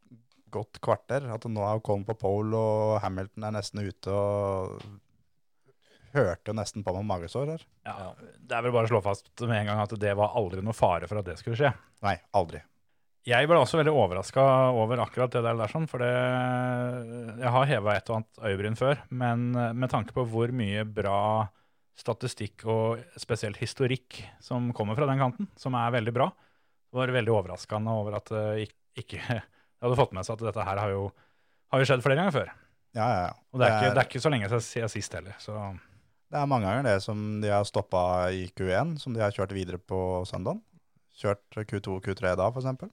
godt kvarter. At nå er Colin på pole, og Hamilton er nesten ute, og hørte jo nesten på meg magesår her.
ja, det er vel bare å slå fast med en gang at det var aldri noe fare for at det skulle skje.
Nei, aldri.
Jeg ble også veldig overraska over akkurat det der, der sånn, for det, jeg har heva et og annet øyebryn før, men eh, med tanke på hvor mye bra statistikk og spesielt historikk som kommer fra den kanten, som er veldig bra, var det veldig overraskende over at det ikke, ikke *laughs* jeg hadde fått med seg at dette her har jo, har jo skjedd flere ganger før.
Ja, ja, ja.
Og det er, ikke, det er ikke så lenge siden sist heller. så...
Det er mange ganger det som de har stoppa i Q1, som de har kjørt videre på søndagen. Kjørt Q2 og Q3 da, for eksempel.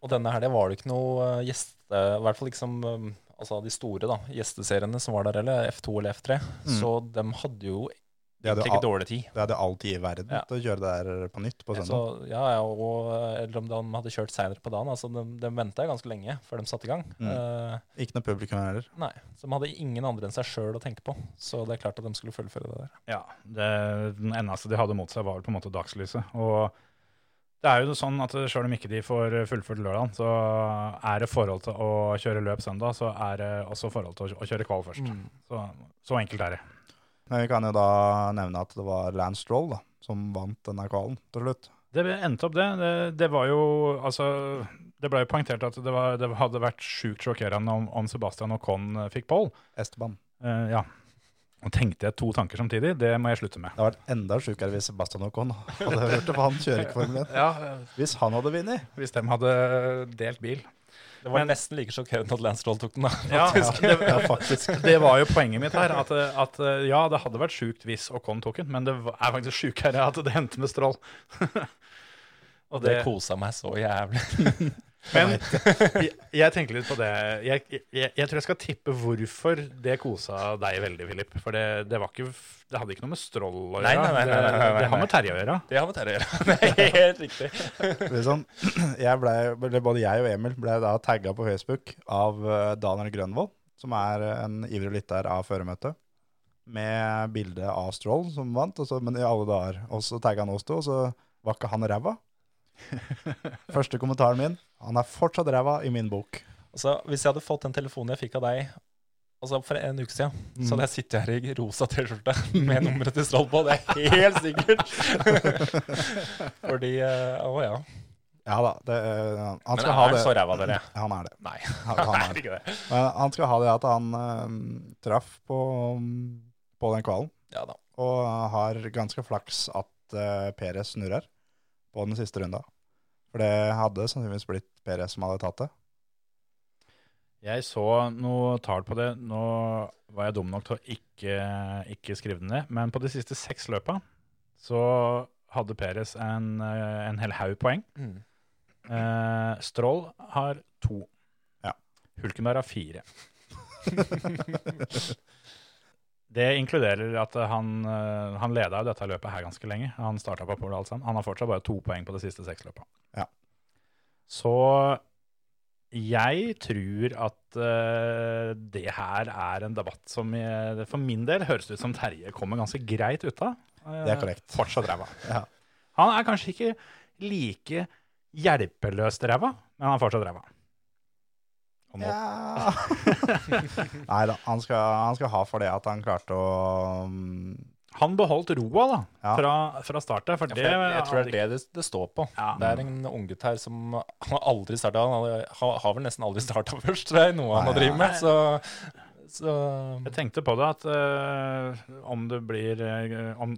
Og denne helga var det ikke noe eh, gjeste... I hvert fall ikke som eh,
Mm.
altså de store da, gjesteseriene som var der, eller F2 eller F3. Så de hadde jo
De hadde,
Fikk
al
dårlig tid.
de hadde all tid i verden
Ja.
til å kjøre det der på nytt på
Så,
søndag.
ja, ja, og, eh, eller om de hadde kjørt seinere på dagen. Altså, de, de venta ganske lenge før de satte i gang.
Mm.
Eh,
Ikke noe publikum heller.
nei, Så de hadde ingen andre enn seg sjøl å tenke på. Så det er klart at de skulle fullføre det der.
Ja, det, den eneste de hadde mot seg var vel på en måte dagslyset. Og det er jo sånn at selv om ikke de får fullført lørdagen, så er det forhold til å kjøre løp søndag, så er det også forhold til å- å kjøre kval først.
Mm.
Så, så enkelt er det.
Men vi kan jo da nevne at det var Lance Stroll da, som vant denne kvalen til slutt.
Det endte opp det. Det, det var jo Altså, det ble jo poengtert at det, var, det hadde vært sjukt sjokkerende om, om Sebastian Ocon fikk pole.
Esteban.
Eh, ja. Og tenkte jeg to tanker samtidig. Det må jeg slutte med.
Det hadde vært enda sjukere hvis Sebastian Ocon hadde hørt det, for han kjører ikke Formel 1.
Ja, eh,
Hvis han hadde vunnet
Hvis de hadde delt bil.
Det var
Men-
nesten like sjokkerende at Lance Stroll tok den, da.
Ja,
faktisk.
det,
ja, faktisk.
det var jo poenget mitt her. At, at eh, ja, det hadde vært sjukt hvis Ocon tok den, men det var- er faktisk sjukere at det endte med Strål. *laughs* Og
*laughs* Det
det-
kosa meg så jævlig.
Men *laughs* jeg, jeg tenker litt på det. Jeg, jeg, jeg tror jeg skal tippe hvorfor det kosa deg veldig, Filip. For det, det var ikke f- Det hadde ikke noe med Strål å gjøre.
Nei, nei, nei, nei, nei, nei,
Det, det har
nei.
med Terje å gjøre.
Det har med Terje å gjøre. *laughs* Det er helt riktig.
liksom, *clears throat* jeg ble, eller Både jeg og Emil ble da tagga på Facebook av eh, Daniel Grønvold, som er eh, en ivrig lytter av Føremøtet, med bilde av Stroll som vant, og så, men i alle dager. Og så tagga han oss to, og så var ikke han
*laughs*
ræva. Første kommentaren min Han er fortsatt ræva i min bok.
Altså, hvis jeg hadde fått den telefonen jeg fikk av deg altså for en uke siden, så hadde jeg sittet her i rosa T-skjorte *laughs* med nummeret til Stroll på. Det er *laughs* helt sikkert. Fordi eh, Å ja.
Ja da. Det, eh, han han
Men
skal
er
ha
han
det.
så ræva, dere?
Han er det.
Nei.
Han, han er det.
ikke det.
Men han skal ha det at han eh, traff på, på den kvalen,
Ja da.
og har ganske flaks at uh, Peres snurrer på den siste runda. For det hadde sannsynligvis blitt Peres som hadde tatt det. *laughs*
Jeg så noe tall på det. Nå var jeg dum nok til å ikke, ikke skrive det ned. Men på de siste seks løpa så hadde Peres en, eh, en hel haug poeng.
Mm.
Eh, Stroll har to.
Ja.
Hulkenberg har fire. det inkluderer at han, eh, han leda jo dette løpet her ganske lenge. Han starta på pole alt sammen. Han har fortsatt bare to poeng på de siste seks løpa.
Ja.
Så jeg tror at eh, det her er en debatt som jeg, for min del høres ut som Terje kommer ganske greit ut av. Eh,
Det er korrekt.
Fortsatt ræva.
*laughs* Ja.
Han er kanskje ikke like hjelpeløst ræva, men han er fortsatt ræva. Og
*laughs*
nå-
Ja. Nei da, han skal, han skal ha for det at han klarte å mm,
Han beholdt roa da,
Ja.
fra, fra startet. For
Ja,
det,
for jeg, jeg tror det er det det, det står på.
Ja.
Det er en unggutt her som han har aldri starta. Han har- har, har vel nesten aldri starta *laughs* først, det er noe han har
Nei,
drevet med. Så, så
Jeg tenkte på det at eh, om det blir eh, om,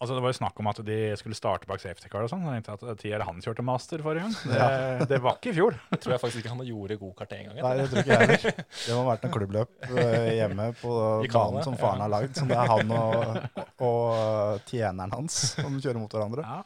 Altså Det var jo snakk om at de skulle starte bak safety car og sånn. Jeg tenkte at Tier han kjørte master forrige gang. Det, *laughs* det var ikke i fjor.
jeg tror jeg faktisk ikke han gjorde gokart en gang.
Nei,
jeg
det tror ikke jeg heller. Det må ha vært noe klubbløp eh, hjemme på
I Canada,
banen som faren
ja.
har lagd. Som det er han og, og tjeneren hans som kjører mot hverandre.
Ja.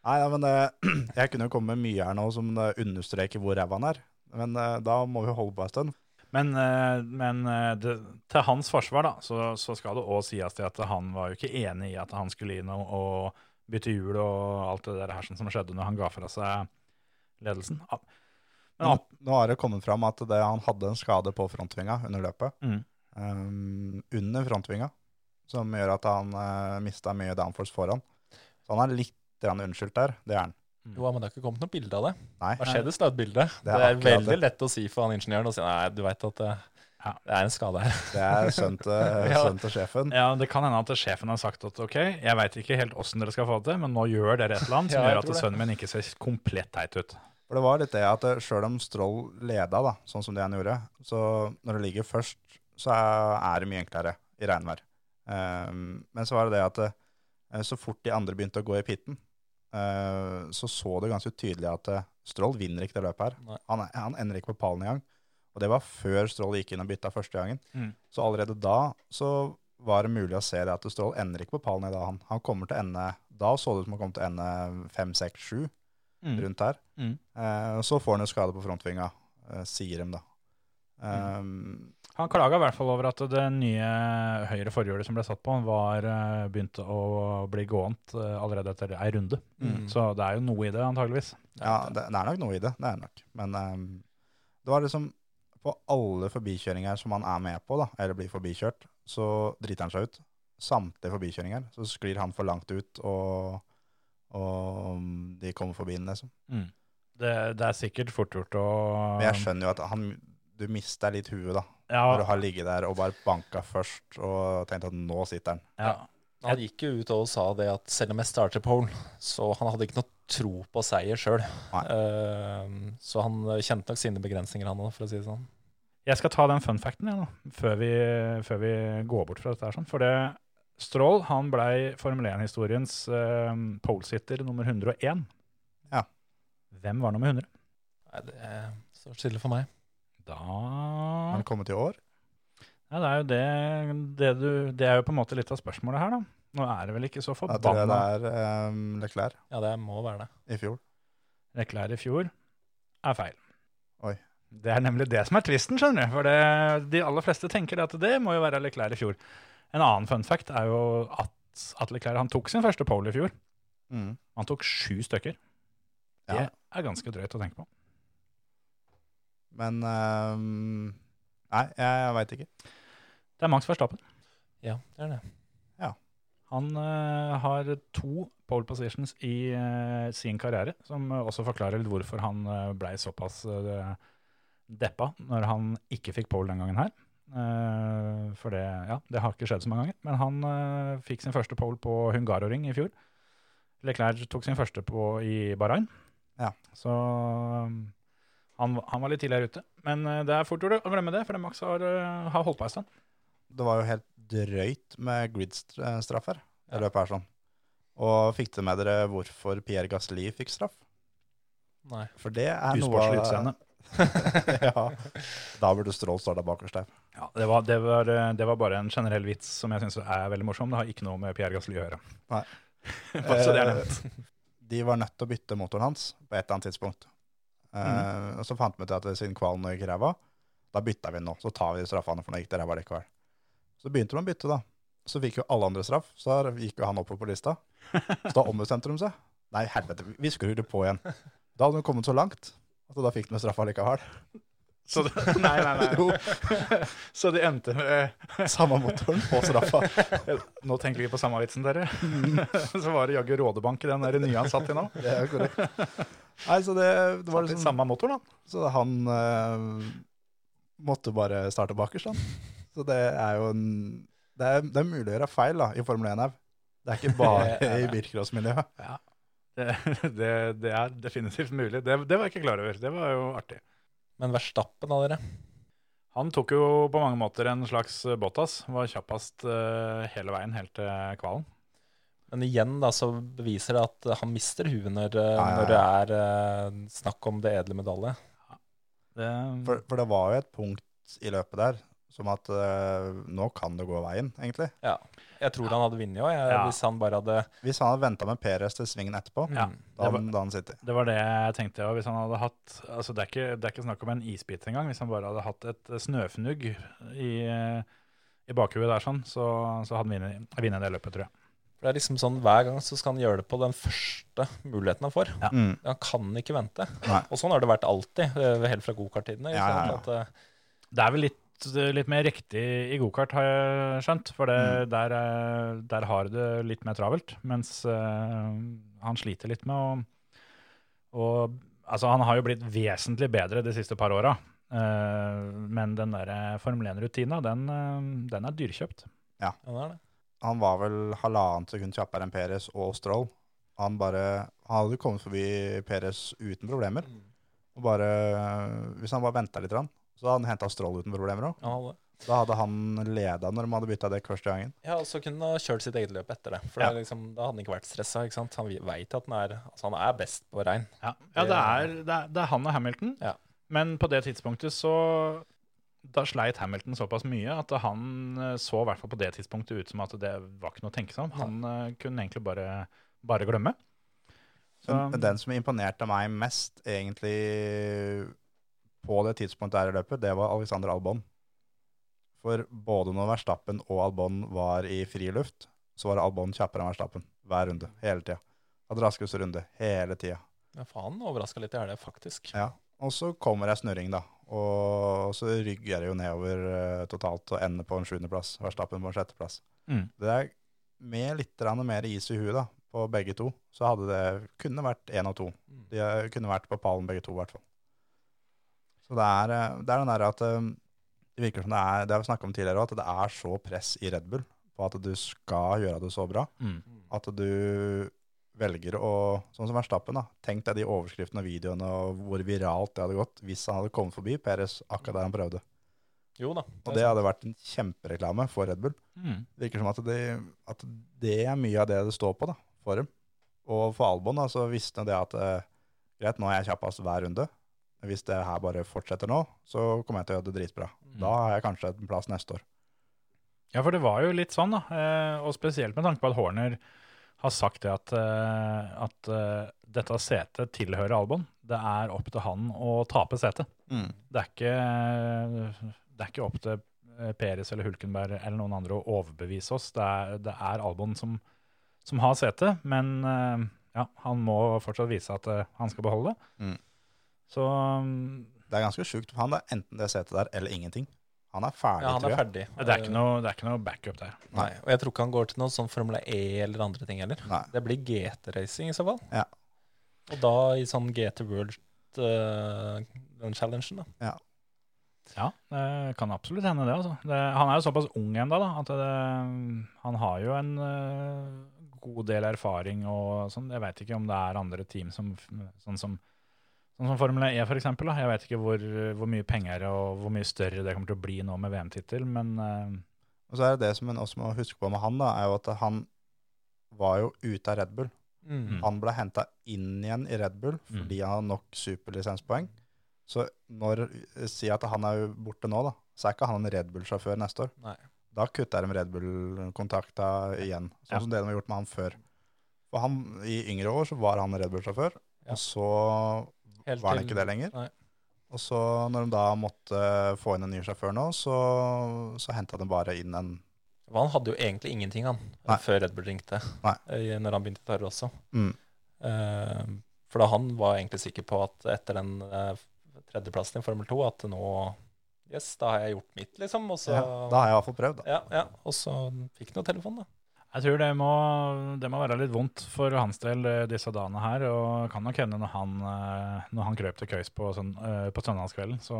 Nei, ja, men eh, *clears throat* Jeg kunne jo komme med mye her nå som eh, understreker hvor ræva han er. Men eh, da må vi holde på en stund.
Men, eh, men eh, det, til hans forsvar da, så, så skal det også sies til at han var jo ikke enig i at han skulle inn og, og bytte hjul og alt det der her som- som skjedde når han ga fra seg ledelsen. Ah, Men
Nå,
opp,
nå har det kommet fram at det, han hadde en skade på frontvinga under løpet.
mm.
Um, under frontvinga, som gjør at han uh, mista mye downforce foran. Så han er litt grann unnskyldt der. Det er han.
Jo, men det har ikke kommet noe bilde av det.
Nei.
Mercedes la ut bilde.
Det
Det
er
er,
akkurat
veldig
det.
lett å si for han ingeniøren å si nei, du veit at det,
Ja.
det er en skade her.
Det er sønnen til
Ja.
sønnen til sjefen.
*laughs* Ja, Det kan hende at sjefen har sagt at ok, jeg veit ikke helt åssen dere skal få det til, men nå gjør dere et eller annet som
Ja, jeg
gjør at
tror det.
sønnen min ikke ser komplett teit ut.
For det var litt det at eh, selv om Stroll leda, da, sånn som det han gjorde, så når det ligger først, så er er det mye enklere i regnvær. Ehm, men så var det det at eh, så fort de andre begynte å gå i pitten, eh, så så det ganske tydelig at eh, Stroll vinner ikke det løpet her.
Nei.
Han, er- han ender ikke på pallen engang. Og det var før Stroll gikk inn og bytta første gangen.
Mm.
Så allerede da så var det mulig å se det at Stroll ender ikke på pallen i dag. Han, han kommer til å ende, da så det ut som han kom til å ende fem, seks, sju rundt der.
Mm.
Eh, og så får han jo skade på frontvinga, eh, sier de da.
Mm.
Um,
Han klaga i hvert fall over at det nye høyre forhjulet som ble satt på, var eh, begynte å bli gåent eh, allerede etter ei runde.
Mm.
Så det er jo noe i det, antageligvis.
ja, det, det er nok noe i det. Det er nok. Men um, det var liksom På alle forbikjøringer som han er med på, da, eller blir forbikjørt, så driter han seg ut. Samtlige forbikjøringer. Så sklir han for langt ut, og, og de kommer forbi den, liksom.
Det, det er sikkert fort gjort å
Men jeg skjønner jo at han, du mister litt huet, da. Når du
ja,
har ligget der og bare banka først og tenkt at nå sitter han.
ja.
Han gikk jo ut og sa det at selv om jeg starter pole, så han hadde ikke noe tro på seier sjøl.
Nei.
så han kjente nok sine begrensninger, han òg, for å si det sånn.
Jeg skal ta den fun facten jeg, nå, før vi, før vi går bort fra dette. her. Sånn. For det, Strål han blei Formel 1-historiens eh, polesitter nummer 101.
Ja.
Hvem var nummer 100?
Nei, det står stille for meg.
Da
Han kommer til i år.
Ja, det er jo det, det, du, det er jo på en måte litt av spørsmålet her, da. Nå er det vel ikke så
Da tror jeg det
forbanna
er um, Leclerc
Ja, det må være det.
i fjor.
Leclerc i fjor er feil.
Oi.
Det er nemlig det som er tvisten, skjønner du. For det, de aller fleste tenker det at det må jo være Leclerc i fjor. En annen fun fact er jo at, at Leclerc han tok sin første pole i fjor.
Mm.
Han tok sju stykker. Det
Ja.
er ganske drøyt å tenke på.
Men um, Nei, jeg veit ikke.
Det er Max Verstappen.
Ja, det er det.
Han eh, har to pole positions i eh, sin karriere, som eh, også forklarer litt hvorfor han eh, blei såpass eh, deppa når han ikke fikk pole den gangen her. Eh, for det, ja, det har ikke skjedd så mange ganger. Men han eh, fikk sin første pole på Hungaroring i fjor. Leclerc tok sin første på, i Bahrain.
Ja.
Så um, han, han var litt tidligere ute. Men eh, det er fort gjort å glemme det, for det Max har, eh, har holdt på en stund.
Det var jo helt drøyt med grid-straffer i løpet her sånn. Og fikk dere med dere hvorfor Pierre Gasli fikk straff?
Nei.
For det er noe
Usportslig utseende.
*laughs* ja. Da burde Strål stå der bakerst der.
Ja, det var, det, var, eh, det var bare en generell vits som jeg syns er veldig morsom. Det har ikke noe med Pierre Gasli å gjøre.
Nei.
*laughs* Bare så det er nevnt.
Eh, de var nødt til å bytte motoren hans på et eller annet tidspunkt. Eh,
Mhm.
og så fant vi ut at siden kvalen gikk ræva, da bytta vi den nå. Så tar vi de straffene, for nå gikk det ræva likevel. Så begynte de å bytte, da. Så fikk jo alle andre straff, så her gikk jo han oppover på lista. Så da ombestemte de seg. Nei, helvete, vi- vi skrur det på igjen. Da hadde de kommet så langt at da fikk de straffa likevel.
Så det, *laughs* nei, nei, nei.
*laughs* Jo,
Så de endte med
samme motoren på straffa.
Nå tenker vi på samme vitsen, dere. *laughs* Så var det jaggu Rådebank i den der nye han satt i nå.
*laughs* Det er jo korrekt. Nei, så det, det var
Satt i
liksom
samme motor, da.
Så han eh, måtte bare starte bakerst, han. Så det er jo en Det er, det er mulig å gjøre feil da, i Formel 1 her.
*laughs*
Det er ikke bare i bilcrossmiljøet.
Det, det, *laughs* det er definitivt mulig. Det, det var jeg ikke klar over. Det var jo artig.
Men Verstappen av dere?
Han tok jo på mange måter en slags Bottas. Var kjappest eh, hele veien helt til kvalen.
Men igjen da, så beviser det at han mister huet når,
ja,
når det er eh, snakk om det edle medalje.
Det,
For, for det var jo et punkt i løpet der som at eh, nå kan det gå veien, egentlig.
Jeg tror han hadde vunnet òg,
Ja.
hvis han bare hadde
Hvis han hadde venta med Perez til svingen etterpå,
Ja.
Mm.
da
Det var-
hadde han- da hadde han sittet.
Det var det jeg tenkte. Og hvis han hadde hatt, altså det, er ikke, det er ikke snakk om en isbit engang. Hvis han bare hadde hatt et snøfnugg i, eh, i bakhuet der, sånn, så, så hadde han vunnet- vunnet det løpet, tror jeg.
For det er liksom sånn, Hver gang så skal han gjøre det på den første muligheten han får.
Ja.
Mm.
Han kan ikke vente.
Nei.
Og sånn har det vært alltid, eh, helt fra gokarttidene. ikke
Ja, ja,
sant? At, eh,
Det er vel litt, litt mer riktig i gokart, har jeg skjønt. For det, der, er- der har det litt mer travelt. Mens eh, han sliter litt med å å- Altså, han har jo blitt vesentlig bedre de siste par åra. Eh, men den der eh, Formel 1-rutina, den, eh, den er dyrkjøpt.
ja, det er det.
Han var vel halvannet sekund kjappere enn Perez og Stroll. Han bare Han hadde kommet forbi Perez uten problemer. Og bare, hvis han bare venta litt, grann, så hadde han henta strål uten problemer òg.
Ja, det.
Da hadde han leda når de hadde bytta dekk første gangen.
Ja, og så kunne han ha kjørt sitt eget løp etter det. For det
Ja.
er liksom, Da hadde han ikke vært stressa. ikke sant? Han veit at han er, altså han er best på regn.
Ja, ja det, er, det, er, det er han og Hamilton.
Ja.
Men på det tidspunktet så Da sleit Hamilton såpass mye at han eh, så i hvert fall på det tidspunktet ut som at det var ikke noe å tenke seg om. Han eh, kunne egentlig bare, bare glemme. Så, Mm,
Men den som imponerte meg mest, egentlig, på det tidspunktet der i løpet, det var Alexander Albon. For både når Verstappen og Albon var i friluft, så var Albon kjappere enn Verstappen hver runde, hele tida. Hadde raskeste runde hele tida.
Ja, faen, overraska litt i helga, faktisk.
Ja. Og så kommer ei snurring, da. Og så rygger det jo nedover eh, totalt og ender på en sjuendeplass. Verstappen på en sjetteplass.
Mm.
Det er med litt grann mer is i huet da, på begge to, så hadde det kunne vært én av to.
Mm.
De eh, kunne vært på pallen begge to, i hvert fall. Så det er, eh, det er den der at eh, det virker som det er, det har vi snakket om tidligere også, at det er så press i Red Bull på at du skal gjøre det så bra,
Mm.
at du velger å, sånn som Verstappen da, tenk deg de overskriftene og videoene og hvor viralt det hadde gått hvis han hadde kommet forbi Peres akkurat der han prøvde.
Jo da.
Og det hadde vært en kjempereklame for Red Bull.
Mm.
Det virker som at det, at det er mye av det det står på da, for dem. Og for Albon da, så visste han det at eh, greit, nå er jeg kjappest hver runde. Hvis det her bare fortsetter nå, så kommer jeg til å gjøre det dritbra.
Mm.
Da har jeg kanskje en plass neste år.
Ja, for det var jo litt sånn, da. Eh, og spesielt med tanke på at Horner har sagt det at, eh, at eh, dette setet tilhører Albon. Det er opp til han å tape setet.
Mm.
Det er ikke, det er ikke opp til eh, Peres eller Hulkenberg eller noen andre å overbevise oss. Det er, det er Albon som, som har setet, men eh, ja, han må fortsatt vise at eh, han skal beholde det.
Mm.
Så mm,
Det er ganske sjukt for han da, enten det setet der eller ingenting. Han er ferdig,
Ja, han
tror
er
jeg.
ferdig.
det er ikke noe, det er ikke noe backup der.
Nei, og jeg tror ikke han går til noe sånn Formel E eller andre ting heller.
Nei.
Det blir GT-racing i så fall.
Ja.
Og da i sånn GT World eh, den challengen, da.
Ja, det kan absolutt hende det. Altså. det han er jo såpass ung ennå da, at det, han har jo en eh, god del erfaring og sånn. Jeg veit ikke om det er andre team som f- sånn som, sånn som Formel E for eksempel, da. Jeg veit ikke hvor, hvor mye penger og hvor mye større det kommer til å bli nå med VM-tittel, men eh,
Og så er det det som en også må huske på med han da, er jo at han var jo ute av Red Bull.
Mm.
Han ble henta inn igjen i Red Bull
Mm.
fordi han har nok superlisenspoeng. Så når Si at han er jo borte nå, da. Så er ikke han en Red Bull-sjåfør neste år.
Nei.
Da kutter de Red Bull-kontakta igjen, sånn
Ja.
som det de har gjort med han før. For han, I yngre år så var han Red Bull-sjåfør,
Ja.
og så
Helt
var han
til-
ikke det lenger.
Nei.
Og så når de da måtte få inn en ny sjåfør nå, så, så henta de bare inn en
For Han hadde jo egentlig ingenting, han,
Nei.
før Red Bull ringte.
Nei.
eh, Når han begynte i Tarre også.
Mm.
Eh, for da han var egentlig sikker på at etter den eh, tredjeplassen i Formel 2, at nå Yes, da har jeg gjort mitt, liksom. Og så
ja, Da har jeg i hvert fall prøvd, da.
Ja, ja. Og så fikk han jo telefon, da.
jeg tror det må, det må være litt vondt for hans del eh, disse dagene her. Og kan nok hende når han, eh, når han krøp til køys på, søn, eh, på søndagskvelden, så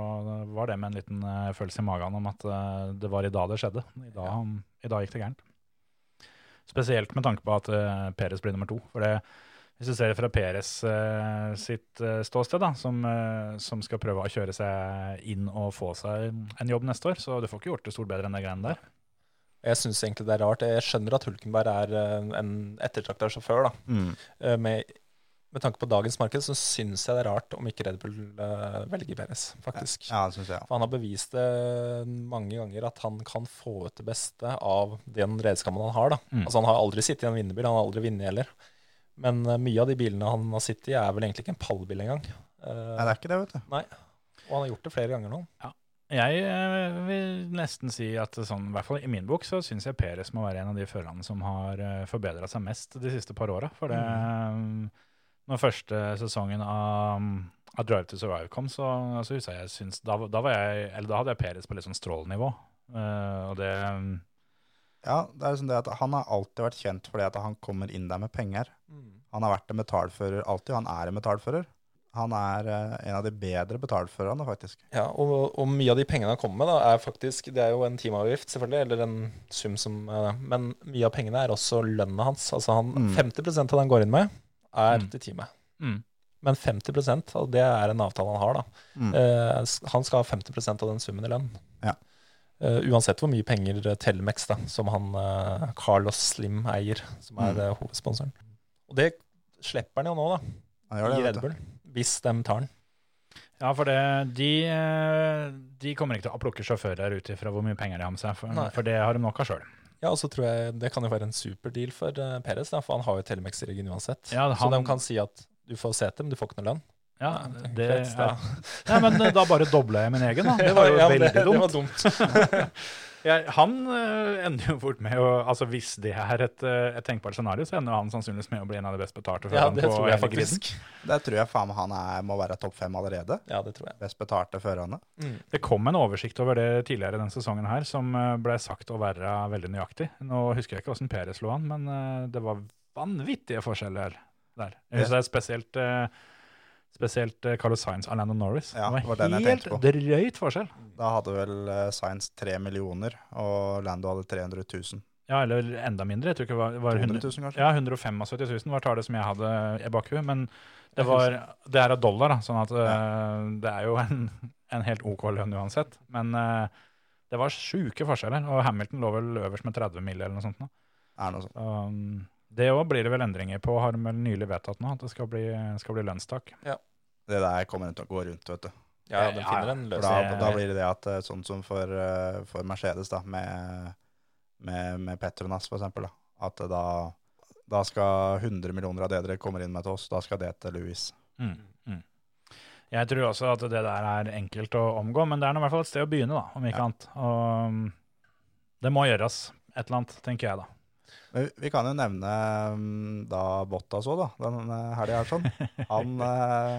var det med en liten eh, følelse i magen om at eh, det var i dag det skjedde. I dag, i dag gikk det gærent. Spesielt med tanke på at eh, Peres blir nummer to. For det, hvis du ser det fra Peres eh, sitt eh, ståsted, da, som, eh, som skal prøve å kjøre seg inn og få seg en jobb neste år, så du får ikke gjort det stort bedre enn det greiene der.
Jeg syns egentlig det er rart. Jeg skjønner at Hulkenberg er eh, en ettertrakta sjåfør, da.
Mm.
Eh, Med, med tanke på dagens marked, så syns jeg det er rart om ikke Red Bull eh, velger Perez, faktisk.
Ja, det syns jeg.
For han har bevist det mange ganger at han kan få ut det beste av den redskapen han har. Da.
Mm.
Altså, han har aldri sittet i en vinnerbil, han har aldri vunnet heller. Men eh, mye av de bilene han har sittet i, er vel egentlig ikke en pallbil engang. Eh,
Nei, det er ikke det, vet du.
og han har gjort det flere ganger nå.
Jeg eh, vil nesten si at sånn, i hvert fall i min bok så syns jeg Peres må være en av de førerne som har forbedra seg mest de siste par åra. For det eh, Når første sesongen av, av Drive to Survive kom, så altså, husker jeg jeg syns da, da var jeg Eller da hadde jeg Peres på litt sånn strålenivå. Eh, og det
Ja, det er liksom det at Han har alltid vært kjent fordi at han kommer inn der med penger.
Mm.
Han har vært en metallfører alltid, og han er en metallfører. Han er eh, en av de bedre betalførerne, faktisk.
Ja, og, og mye av de pengene han kommer med, da, er faktisk Det er jo en timeavgift, selvfølgelig, eller en sum som eh, Men mye av pengene er også lønna hans. Altså han,
Mm.
50 av det han går inn med, er
Mm.
til teamet.
mm,
Men 50 av det er en avtale han har, da.
Mm.
Eh, s- han skal ha 50 av den summen i lønn.
Ja.
Eh, uansett hvor mye penger eh, Telemex, da, som han eh, Carlos Slim eier, som er
Mm.
eh, hovedsponsoren. Og det slipper han jo nå, da,
Han gjør det,
i
vet
Red
du.
Bull. Hvis de tar den.
Ja, for det, de, eh, de kommer ikke til å plukke sjåfører ut ifra hvor mye penger de har med seg, for,
Nei.
for det har de nok av sjøl.
Ja, og så tror jeg Det kan jo være en super deal eh, for uh, Perez, da, for han har jo Telemex i ryggen uansett.
Ja,
Så de
han-
kan si at du får sete, men du får ikke noe lønn.
Ja,
Nei,
det
Fett, da.
er, nei, men eh, da bare dobla jeg min egen, da. *laughs* Det var jo
Ja,
veldig
det,
dumt.
Det var dumt.
*laughs* Jeg, han eh, ender jo fort med å altså Hvis det er et, eh, et tenkbart scenario, så ender han sannsynligvis med å bli en av de best betalte.
Ja,
førerne
det
på
tror jeg
hele grisen.
faktisk.
Der tror jeg faen meg han er, må være topp fem allerede.
Ja, det tror jeg. Mm.
Best betalte førerne.
Det kom en oversikt over det tidligere denne sesongen her, som eh, ble sagt å være veldig nøyaktig. Nå husker jeg ikke hvordan Perez slo han, men eh, det var vanvittige forskjeller der. Jeg husker det er spesielt, eh, spesielt eh, Carlos Sainz og Lando Norris.
Ja,
det
det var
var
den jeg
helt
tenkte
drøyt forskjell.
Da hadde vel eh, Sainz 3 millioner, og Lando hadde 300 000.
Ja, eller enda mindre. Jeg tror ikke det var, var
200
100,
000 kanskje?
ja, 175 000 var tallet som jeg hadde i bakhuet, men det, var, det er av dollar, da, sånn at eh, det er jo en, en helt OK lønn uansett. Men eh, det var sjuke forskjeller, og Hamilton lå vel øverst med 30 mil eller noe sånt. nå.
Er noe sånt.
Um, det òg blir det vel endringer på, har de vel nylig vedtatt nå, at det skal bli, skal bli lønnstak.
Det der kommer til å gå rundt, vet du.
Ja, ja, de
Ja, ja.
finner en
For
løsning.
da, da blir det det at eh, sånn som for, eh, for Mercedes da, med, med, med Petronas for eksempel, da, at da, da skal 100 millioner av det dere kommer inn med til oss, da skal det til Louis.
Mm. Mm. Jeg tror også at det der er enkelt å omgå, men det er nå i hvert fall et sted å begynne, da, om ikke
Ja.
annet. Og um, det må gjøres et eller annet, tenker jeg da.
Men vi- vi kan jo nevne mm, da Bottas òg, da, denne helga her sånn. Han eh,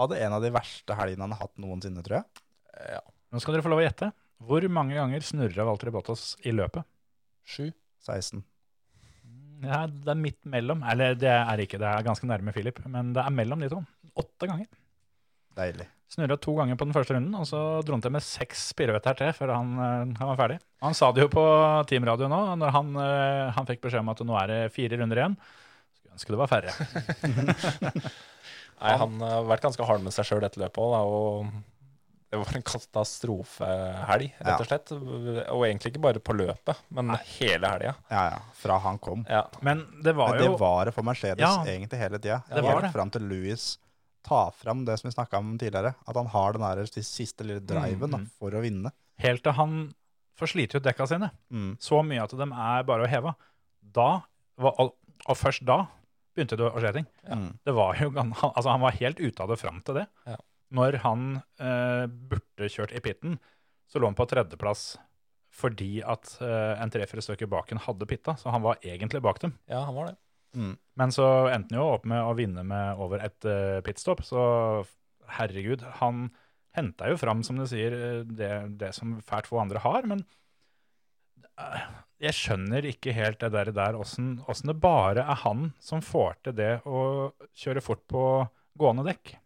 hadde en av de verste helgene han har hatt noensinne, tror jeg.
Ja.
Nå skal dere få lov å gjette. Hvor mange ganger snurra Valtteri Bottas i løpet?
Sju.
16.
Ja, det er midt mellom. Eller det er ikke, det er ganske nærme Philip, men det er mellom de to. Åtte ganger.
Deilig.
Snurra to ganger på den første runden, og så dro han til med seks piruetter til før han, eh, han var ferdig. Han sa det jo på teamradio nå, når han, eh, han fikk beskjed om at nå er det fire runder igjen. Skulle ønske det var færre.
Nei, han eh, har vært ganske hard med seg sjøl dette løpet òg, og det var en katastrofehelg, rett
Ja.
og slett. Og egentlig ikke bare på løpet, men hele helga.
Ja, ja. Fra han kom.
Ja.
Men det var
Men det
jo
var det for Mercedes
Ja.
egentlig hele tida.
Det var det.
Helt fram til Louis tar fram det som vi snakka om tidligere. At han har den der siste lille driven da,
Mm, mm.
for å vinne.
helt til han får slite ut dekka sine.
Mm.
Så mye at de er bare å heve. Da, var, og og først da, begynte det å skje ting.
Mm.
Det var jo, gan- han- altså han var helt ute av det fram til det.
Ja.
Når han eh, burde kjørt i pitten, så lå han på tredjeplass fordi at eh, en tre-fire stykker bak ham hadde pitta, så han var egentlig bak dem.
ja, han var det.
Mm.
Men så endte han jo opp med å vinne med over et eh, pitstop, så herregud, han henta jo fram, som du sier, eh, det, det som fælt få andre har, men eh, jeg skjønner ikke helt det der, der åssen åssen det bare er han som får til det å kjøre fort på gående dekk.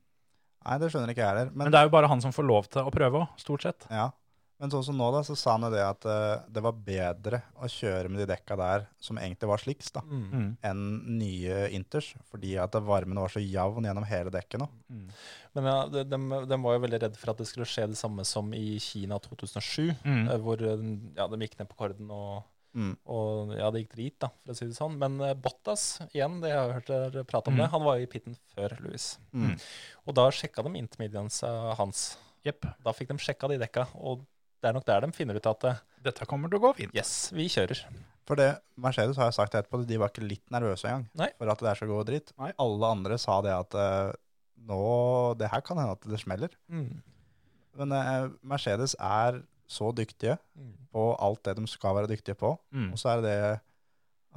Nei, det skjønner ikke jeg heller. Men,
Men det er jo bare han som får lov til å prøve òg, stort sett.
ja. men sånn som nå, da, så sa han jo det at eh, det var bedre å kjøre med de dekka der som egentlig var sliks, da,
Mm.
Mm.
enn nye Inters. Fordi at varmen var så jevn gjennom hele dekket nå.
Mm.
Men ja, de, dem- dem var jo veldig redd for at det skulle skje det samme som i Kina 2007,
Mm.
eh, hvor eh, ja, de gikk ned på korden og
Mm.
Og ja, det gikk drit, da, for å si det sånn. Men eh, Bottas, igjen, det jeg har hørt dere prate om
Mm.
det, han var jo i pitten før Louis.
Mm.
Og da sjekka de intermediansa hans.
Jepp.
Da fikk de sjekka de dekka, og det er nok der de finner ut at eh,
Dette kommer til å gå fint.
yes, vi kjører.
For det, Mercedes har jo sagt etterpå at de var ikke litt nervøse engang
Nei.
for at det der skal gå dritt.
Nei.
Alle andre sa det at eh, nå, det her kan hende at det smeller. Men eh, Mercedes er så dyktige
Mm.
på alt det de skal være dyktige på.
Mm.
Og så er det det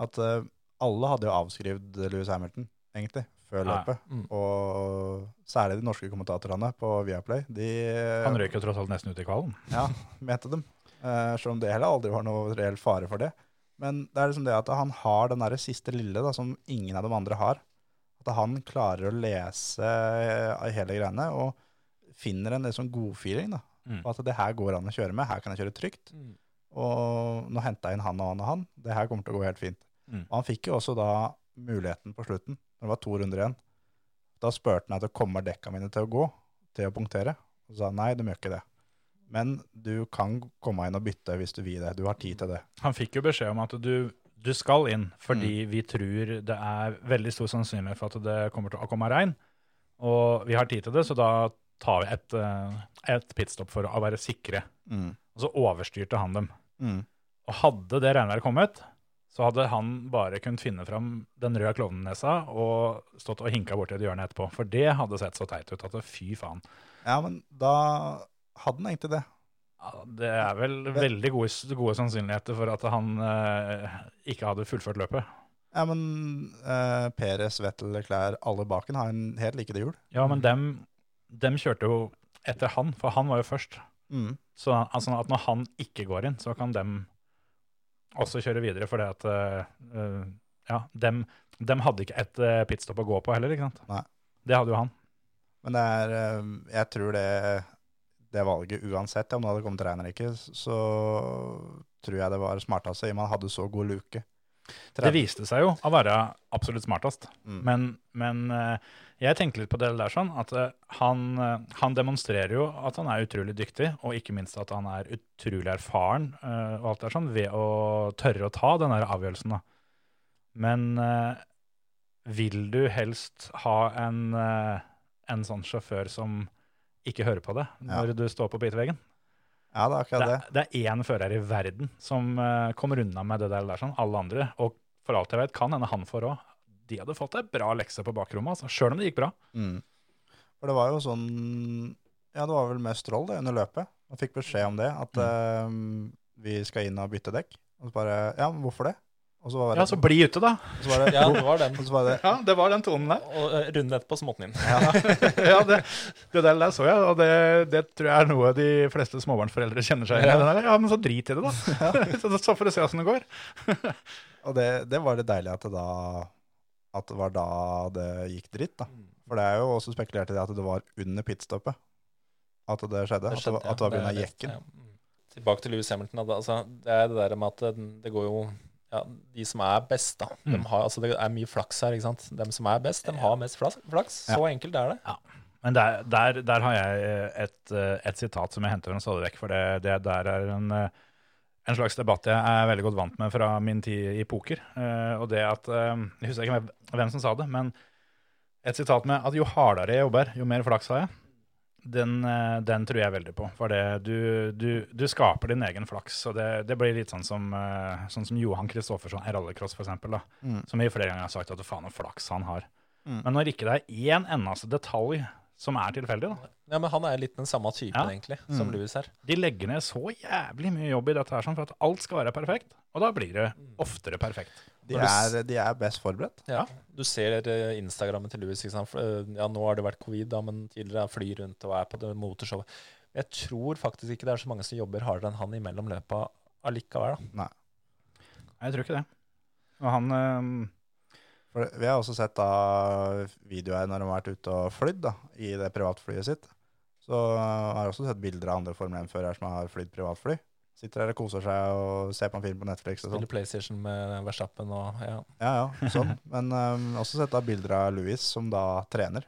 at eh, alle hadde jo avskrevet Lewis Hamilton, egentlig, før
Ja.
løpet.
Mm.
Og særlig de norske kommentatorene på Viaplay, de eh,
Han røyk jo tross alt nesten ut i kvalen.
ja, mente dem. Eh, selv om det heller aldri var noe reell fare for det. Men det er liksom det at han har den der siste lille da, som ingen av de andre har. At han klarer å lese eh, hele greiene og finner en litt sånn godfeeling. da.
Mm.
På At det her går an å kjøre med, her kan jeg kjøre trygt. Og nå henta jeg inn han og han og han, det her kommer til å gå helt fint.
Mm.
Og han fikk jo også da muligheten på slutten, når det var to runder igjen. Da spurte han at det kommer dekka mine til å gå, til å punktere. Og så sa han nei, de gjør ikke det. Men du kan komme inn og bytte hvis du vil det. Du har tid til det.
Han fikk jo beskjed om at du, du skal inn, fordi vi tror det er veldig stor sannsynlighet for at det kommer til å komme regn. Og vi har tid til det, så da tar vi et, eh, et pitstop for å være sikre.
Mm.
Og så overstyrte han dem.
Mm.
Og hadde det regnværet kommet, så hadde han bare kunnet finne fram den røde klovnenesa og stått og hinka borti et hjørne etterpå. For det hadde sett så teit ut at fy faen.
Ja, men da hadde han egentlig det.
Ja, Det er vel veldig gode, gode sannsynligheter for at han eh, ikke hadde fullført løpet.
Ja, men eh, Peres, Vettel, Klær, alle baken har en helt likede hjul.
Ja, men dem, dem kjørte jo etter han, for han var jo først.
Mm.
Så altså, at når han ikke går inn, så kan dem også kjøre videre, fordi at eh, eh, ja, dem, dem hadde ikke et eh, pitstop å gå på heller, ikke sant?
Nei.
Det hadde jo han.
Men det er, eh, jeg tror det, det valget uansett, om det hadde kommet regn eller ikke, så tror jeg det var smartest, i og med han hadde så god luke.
Det viste seg jo å være absolutt smartest.
Mm.
Men, men eh, jeg tenker litt på det der sånn, at eh, han, eh, han demonstrerer jo at han er utrolig dyktig, og ikke minst at han er utrolig erfaren eh, og alt det der sånn, ved å tørre å ta den der avgjørelsen. Da. Men eh, vil du helst ha en, eh, en sånn sjåfør som ikke hører på det
Ja.
når du står på biteveggen?
Ja, det er akkurat
Det,
det.
det er én fører i verden som eh, kommer unna med det der, der sånn, alle andre. Og for alt jeg vet, kan hende han får òg. De hadde fått ei bra lekse på bakrommet, altså, sjøl om det gikk bra.
Mm. For det var jo sånn Ja, det var vel mest troll det, under løpet. Man fikk beskjed om det, at
Mm.
eh, vi skal inn og bytte dekk. Og så bare Ja, men hvorfor det? Og så var
Ja,
det,
så bli ute, da.
og så var det,
Ja, det var den.
og så var det
Ja, det var den tonen der.
Og eh, runden etterpå så måtte den inn.
*laughs* ja, det, det der, der så jeg, og det, det tror jeg er noe de fleste småbarnsforeldre kjenner seg igjen i. Den der, Ja, men så drit i det, da. *laughs* så, så får du se åssen det går.
Og det, det var det deilige at det da at det var da det gikk dritt, da. For det er jo også spekulert i det at det var under pitstoppet at det skjedde.
Det skjedde,
at det var, at det var
ja.
begynnet
Det er litt-
jekken.
ja. Mm. Tilbake til Lewis Hamilton. da. Altså, det er det der med at det, det går jo ja, De som er best, da. De
Mm.
har, altså, det er mye flaks her. ikke sant? De som er best, de har mest flaks. flaks. Så enkelt er det.
Men der, der, der har jeg eh, et, eh, et sitat som jeg henter en stadig vekk, for det, det der er en, eh, en slags debatt jeg er veldig godt vant med fra min tid i poker. Eh, Og det at eh, Jeg husker ikke hvem- hvem som sa det, men et sitat med at jo hardere jeg jobber, jo mer flaks har jeg. Den, eh, den tror jeg veldig på. For det, du, du, du skaper din egen flaks. Og det, det blir litt sånn som, eh, sånn som Johan Kristoffersson i rallycross, for eksempel, da,
Mm.
som vi flere ganger har sagt at faen, så flaks han har.
Mm.
Men når ikke det er én eneste detalj som er tilfeldig, da.
Ja, men Han er litt den samme typen
Ja.
egentlig,
Mm.
som Lewis her.
De legger ned så jævlig mye jobb i dette her sånn for at alt skal være perfekt. Og da blir det oftere perfekt.
De,
Når du
er, de er best forberedt.
Ja. Du ser eh, Instagrammen til Lewis. ikke sant? For, eh, Ja, nå har det vært covid, da, men tidligere han flyr rundt og er på det motorshowet. Jeg tror faktisk ikke det er så mange som jobber hardere enn han imellom løpa allikevel. da.
Nei, Jeg tror ikke det. Og han eh, øhm,
For vi har også sett da videoer når de har vært ute og flydd da, i det privatflyet sitt. Så øh, har jeg også sett bilder av andre Formel 1-førere som har flydd privatfly. Sitter der og koser seg og ser på en film på Netflix og sånn.
Spiller PlayStation med Verstappen og ja.
Ja, ja, sånn. *laughs* Men øhm, også sett da bilder av Louis som da trener.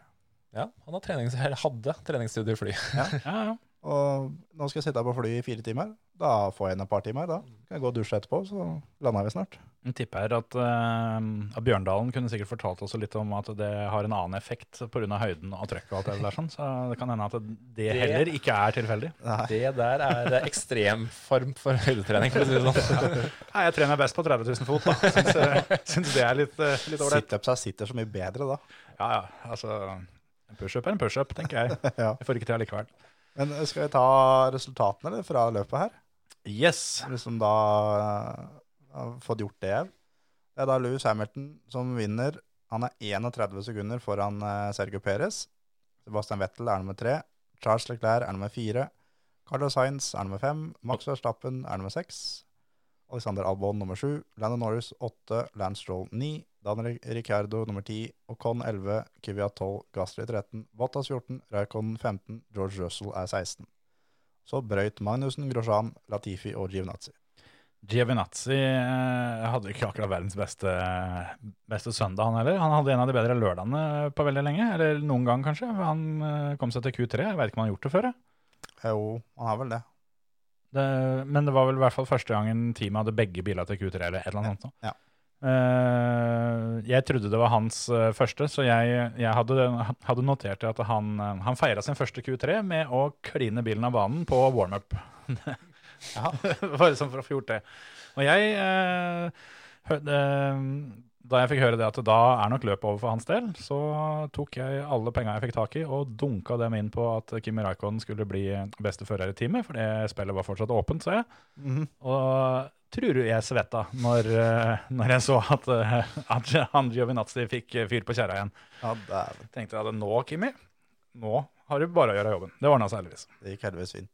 ja han har trenings, *laughs* eller hadde treningsstudio i fly.
ja, ja.
Og nå skal jeg sitte her på flyet i fire timer. Da får jeg inn et par timer. Da kan jeg gå og dusje etterpå, så lander vi snart.
Jeg tipper at, øhm, at Bjørndalen kunne sikkert fortalt oss litt om at det har en annen effekt pga. høyden og trøkket og alt det der sånn, så det kan hende at det, det heller ikke er tilfeldig.
Nei.
Det der er eh, ekstremform for høydetrening, for å si det sånn.
Nei, jeg trener best på 30 000 *laughs* fot, da. Syns, øh, syns det er litt øh, litt ålreit.
Situpsa sitter så mye bedre da.
Ja, ja. Altså, en pushup er en pushup, tenker *laughs* jeg.
Ja.
Jeg får ikke til allikevel.
Men øh, skal vi ta resultatene eller, fra løpet her?
Yes.
liksom da eh, har fått gjort det. Det er da Lewis Hamilton som vinner. Han er 31 sekunder foran eh, Sergio Perez. Sebastian Vettel er nummer tre. Charles Leclerc er nummer fire. Carlos Sainz er nummer fem. Max Verstappen er nummer seks. Alexander Albon nummer sju. Lando Norris åtte. Lance Stroll ni. Daniel Ricciardo nummer ti. Ocon 11. Kivia 12. Gasly 13. Bottas 14. Raikon 15. George Russell er 16. Så brøyt Magnussen, Grosjean, Latifi og Givnazi.
Giovinazzi eh, hadde ikke akkurat verdens beste, beste søndag, han heller. Han hadde en av de bedre lørdagene på veldig lenge, eller noen gang kanskje. Han eh, kom seg til Q3, jeg vet ikke om han har gjort det før. jeg.
Jo, han har vel det.
Det, men det var vel i hvert fall første gangen teamet hadde begge biler til Q3, eller et eller annet sånt. nå.
Ja.
Eh, jeg trodde det var hans eh, første, så jeg, jeg hadde, hadde notert at han, eh, han feira sin første Q3 med å kline bilen av banen på *laughs* warm-up. Bare sånn for å få gjort det. Og jeg eh, hø- det- Da jeg fikk høre det at da er nok løpet over for hans del, så tok jeg alle penga jeg fikk tak i, og dunka dem inn på at Kimi Raikon skulle bli beste fører i teamet, for det spillet var fortsatt åpent, så jeg.
Mhm.
Og tror du jeg svetta når, eh, når jeg så at, eh, at han Giovinazzi fikk eh, fyr på kjerra igjen.
Ja, dæven.
Tenkte jeg at nå, Kimi, nå har du bare å gjøre jobben. Det ordna seg heldigvis.
Det gikk heldigvis fint.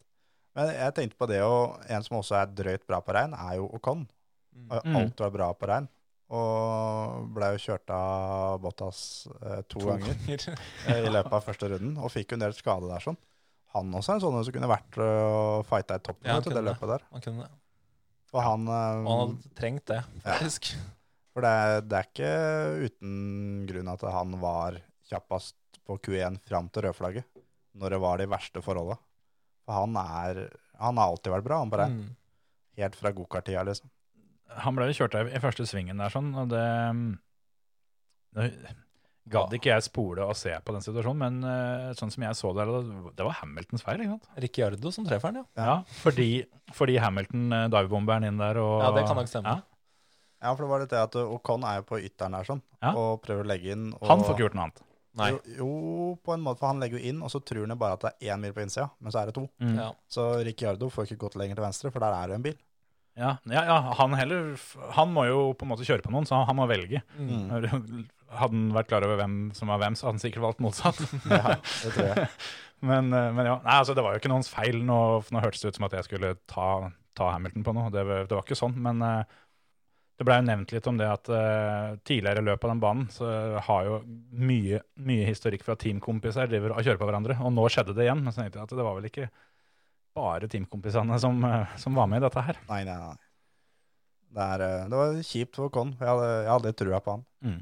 Men jeg tenkte på det, og en som også er drøyt bra på regn, er jo Ocon. Har
Mm.
Alt var bra på regn. Og ble jo kjørt av Bottas eh, to, ganger eh, i løpet av første runden, og fikk jo en del skade der sånn. Han også er en sånn som kunne vært eh, og fighta i toppen
Ja, han
vet du, det
kunne
løpet der.
Han kunne det.
Og han,
Og
eh,
han hadde trengt det, faktisk.
For det er, det er ikke uten grunn at han var kjappest på Q1 fram til rødflagget, når det var de verste forholda. For han, er, han har alltid vært bra, han på regn.
Mm.
Helt fra gokarttida, liksom.
Han ble jo kjørt av i første svingen der, sånn, og det Nå gadd ikke jeg spole og se på den situasjonen, men eh, sånn som jeg så det, det var Hamiltons feil, ikke sant?
Ricciardo som treffer han, ja.
Ja.
Ja, fordi, fordi Hamilton eh, divebomberen inn der og
Ja, det kan nok stemme.
Ja.
Ja, for det var litt det at Ocon er jo på ytteren her, sånn,
Ja.
og prøver å legge inn. Og,
Han får ikke gjort noe annet.
Nei.
Jo, jo, på en måte, for han legger jo inn, og så tror han jo bare at det er én mil på innsida, men så er det to.
Mm.
Ja.
Så Ricciardo får ikke gått lenger til venstre, for der er det en bil.
Ja, ja, ja han, heller, han må jo på en måte kjøre på noen, så han må velge.
Mm.
Hadde han vært klar over hvem som var hvem, så hadde han sikkert valgt motsatt.
*laughs* Ja, det tror jeg.
men, eh, men ja, Nei, altså, det var jo ikke noens feil. Nå, nå hørtes det ut som at jeg skulle ta, ta Hamilton på noe. Det, var- det var ikke sånn. Men eh, det blei jo nevnt litt om det at eh, tidligere løp av den banen så har jo mye, mye historikk fra teamkompiser driver og kjører på hverandre. Og nå skjedde det igjen. Men så tenkte jeg at det var vel ikke bare teamkompisene som, eh, som var med i dette her.
Nei, nei, nei. Det, er, eh, det var kjipt for Ocon, for jeg hadde, jeg hadde litt trua på han.
Mm.